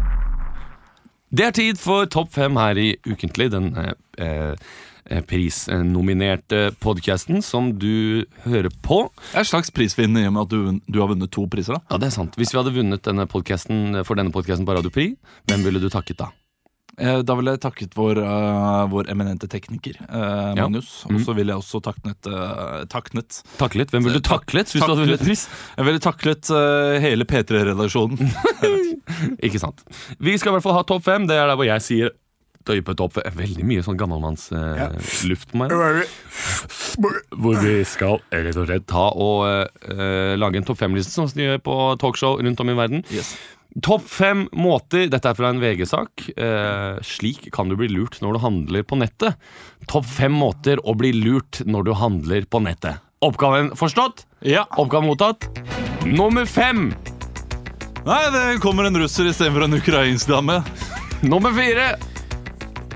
Speaker 2: Det er tid for Topp fem her i Ukentlig, den eh, eh, prisnominerte podkasten som du hører på.
Speaker 1: Det er en slags prisvinner i og med at du, du har vunnet to priser. da
Speaker 2: Ja, det er sant. Hvis vi hadde vunnet denne podcasten, for denne podkasten på Radio Prix, hvem ville du takket da?
Speaker 1: Eh, Da ville jeg takket vår, eh, vår eminente tekniker, eh,
Speaker 2: Ja.
Speaker 1: Magnus. Og så ville jeg også taknet, eh, taknet
Speaker 2: Taklet? Hvem ville du taklet hvis du hadde vunnet pris?
Speaker 1: Jeg ville taklet eh, hele (laughs) P3-redaksjonen.
Speaker 2: Ikke sant. Vi skal i hvert fall ha topp fem. Det er der hvor jeg sier Tøye på topp fem. Veldig mye sånn gammelmannsluft på meg. Hvor vi skal rett og slett ta og eh, eh, lage en topp fem-liste, som de gjør på talkshow rundt om i verden.
Speaker 1: Yes.
Speaker 2: Topp fem måter Dette er fra en VG-sak. Eh, slik kan du bli lurt når du handler på nettet. Topp fem måter å bli lurt når du handler på nettet. Oppgaven forstått?
Speaker 1: Ja.
Speaker 2: Oppgaven mottatt? Nummer fem!
Speaker 1: Nei, det kommer en russer istedenfor en ukrainsk dame.
Speaker 2: Nummer fire!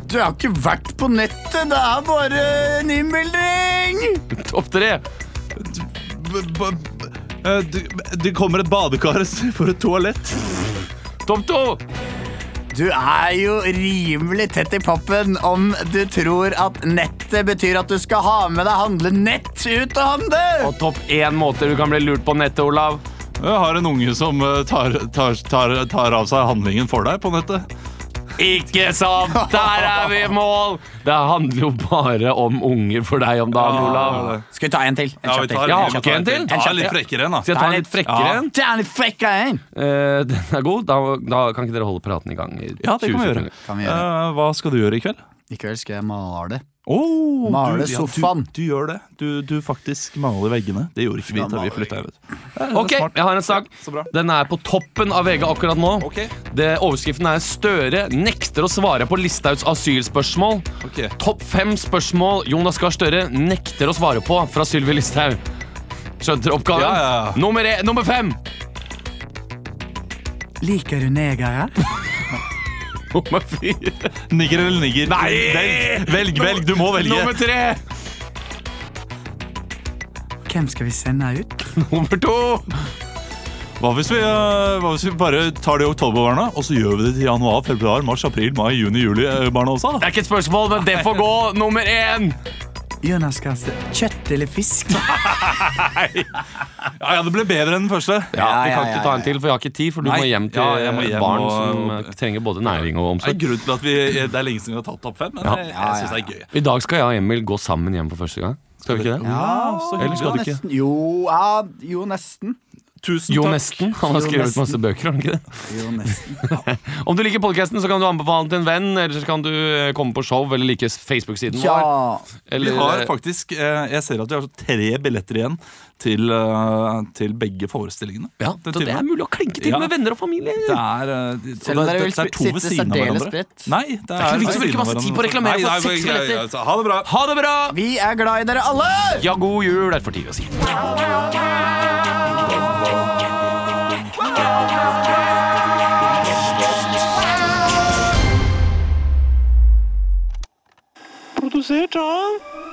Speaker 3: Du har ikke vært på nettet, det er bare en innbildning!
Speaker 2: Topp tre!
Speaker 1: B -b -b eh, det, det kommer et badekar for et toalett.
Speaker 2: Topp to!
Speaker 3: Du er jo rimelig tett i poppen om du tror at nettet betyr at du skal ha med deg handlenett ut og handle!
Speaker 2: Og topp én måter du kan bli lurt på nettet, Olav.
Speaker 1: Jeg har en unge som eh, tar, tar, tar, tar av seg handlingen for deg på nettet.
Speaker 2: Ikke sant! Der er vi i mål! Det handler jo bare om unger for deg om dagen,
Speaker 1: Ah.
Speaker 2: Olav.
Speaker 3: Skal vi ta en til? En
Speaker 1: Ja,
Speaker 3: kjapp
Speaker 1: vi
Speaker 3: til.
Speaker 1: tar,
Speaker 2: Ja,
Speaker 1: vi
Speaker 2: har vi ikke en til?
Speaker 1: Ta en litt frekkere en, da.
Speaker 2: Skal jeg ta en litt frekkere en?
Speaker 3: Ta en litt frekk en.
Speaker 2: Eh, (laughs) den er god. Da, da kan ikke dere holde praten i gang. i
Speaker 1: Ja, det kan
Speaker 2: 20
Speaker 1: vi gjøre.
Speaker 2: sekunder.
Speaker 3: Kan vi gjøre.
Speaker 1: Eh, hva skal du gjøre i kveld?
Speaker 3: I kveld skal jeg male.
Speaker 1: Oh,
Speaker 3: Male
Speaker 1: du,
Speaker 3: sofaen.
Speaker 1: Du, du gjør det. Du, du faktisk maler veggene. Det gjorde ikke vi da vi flytta hit.
Speaker 2: Ok, jeg har en sak. Den er på toppen av VG akkurat nå.
Speaker 1: Ok.
Speaker 2: Det, overskriften er 'Støre nekter å svare på Listhaugs asylspørsmål'.
Speaker 1: Ok.
Speaker 2: Topp fem spørsmål Jonas Gahr Støre nekter å svare på fra Sylvi Listhaug. Skjønte dere oppgaven?
Speaker 1: Ja, ja, ja.
Speaker 2: Nummer, e, nummer fem!
Speaker 6: Liker du negere?
Speaker 2: Nummer fire.
Speaker 1: Nigger eller nigger?
Speaker 2: Nei!
Speaker 1: Velg, velg, velg. Du må
Speaker 2: Nummer
Speaker 1: velge.
Speaker 2: tre!
Speaker 6: Hvem skal vi sende ut?
Speaker 2: Nummer to!
Speaker 1: Hva hvis, vi, eh, hva hvis vi bare tar de oktoberbarna, og så gjør vi det til januar, februar, mars, april, mai, juni, juli? eh, barna også
Speaker 2: Det
Speaker 1: da?
Speaker 2: er ikke et spørsmål, men det får gå. Nummer én!
Speaker 6: Jonas Gahr Støre. Kjøtt eller fisk?
Speaker 1: Ja, ja, det ble bedre enn den første.
Speaker 2: Ja, Vi
Speaker 3: ja,
Speaker 2: kan
Speaker 3: ja,
Speaker 2: ikke
Speaker 3: ja,
Speaker 2: ta en til, for jeg har ikke tid. For du
Speaker 1: Nei.
Speaker 2: må hjem til
Speaker 1: Ja, jeg må hjem
Speaker 2: barn
Speaker 1: og-
Speaker 2: som eh, trenger både næring og
Speaker 1: Det er
Speaker 2: omsorg.
Speaker 1: grunnen til at vi, Det er lenge siden vi har tatt topp fem, men jeg, jeg syns det er gøy.
Speaker 2: I dag skal jeg og Emil gå sammen hjem for første gang. Skal vi ikke det? Eller skal du ikke?
Speaker 3: Nesten. Jo, ja, jo, nesten.
Speaker 1: Tusen
Speaker 2: Jo
Speaker 1: takk.
Speaker 2: Nesten. Han har
Speaker 3: Jo
Speaker 2: skrevet
Speaker 3: Nesten.
Speaker 2: masse bøker, har han ikke det?
Speaker 3: Jo, nesten.
Speaker 2: Om du liker podkasten, så kan du anbefale den til en venn, eller så kan du eh, komme på show eller like Facebook-siden
Speaker 3: Ja.
Speaker 2: vår.
Speaker 1: Vi
Speaker 2: Eller,
Speaker 1: har faktisk, eh, Jeg ser at vi har tre billetter igjen til, eh, til begge forestillingene.
Speaker 2: ja,
Speaker 1: Den
Speaker 2: så det er
Speaker 1: timen.
Speaker 2: mulig å klinke til
Speaker 1: Ja.
Speaker 2: med venner og familie.
Speaker 1: Det er, eh, de-
Speaker 3: Selv om
Speaker 1: og
Speaker 3: dere
Speaker 1: det-
Speaker 3: vil
Speaker 1: det er to
Speaker 3: sitte
Speaker 1: ved siden av
Speaker 3: særdeles
Speaker 1: hverandre.
Speaker 3: bredt.
Speaker 1: Nei, det er,
Speaker 2: ikke
Speaker 1: ved
Speaker 2: vits å
Speaker 1: siden
Speaker 2: bruke
Speaker 1: av
Speaker 2: masse tid
Speaker 1: hverandre.
Speaker 2: på å reklamere
Speaker 1: Nei,
Speaker 2: for
Speaker 1: nei,
Speaker 2: seks
Speaker 1: ja, ja,
Speaker 2: billetter.
Speaker 1: ja, Ha det bra!
Speaker 2: Ha det bra!
Speaker 3: Vi er glad i dere alle!
Speaker 2: Ja, god jul, er det for tidlig å si.
Speaker 5: Produsert av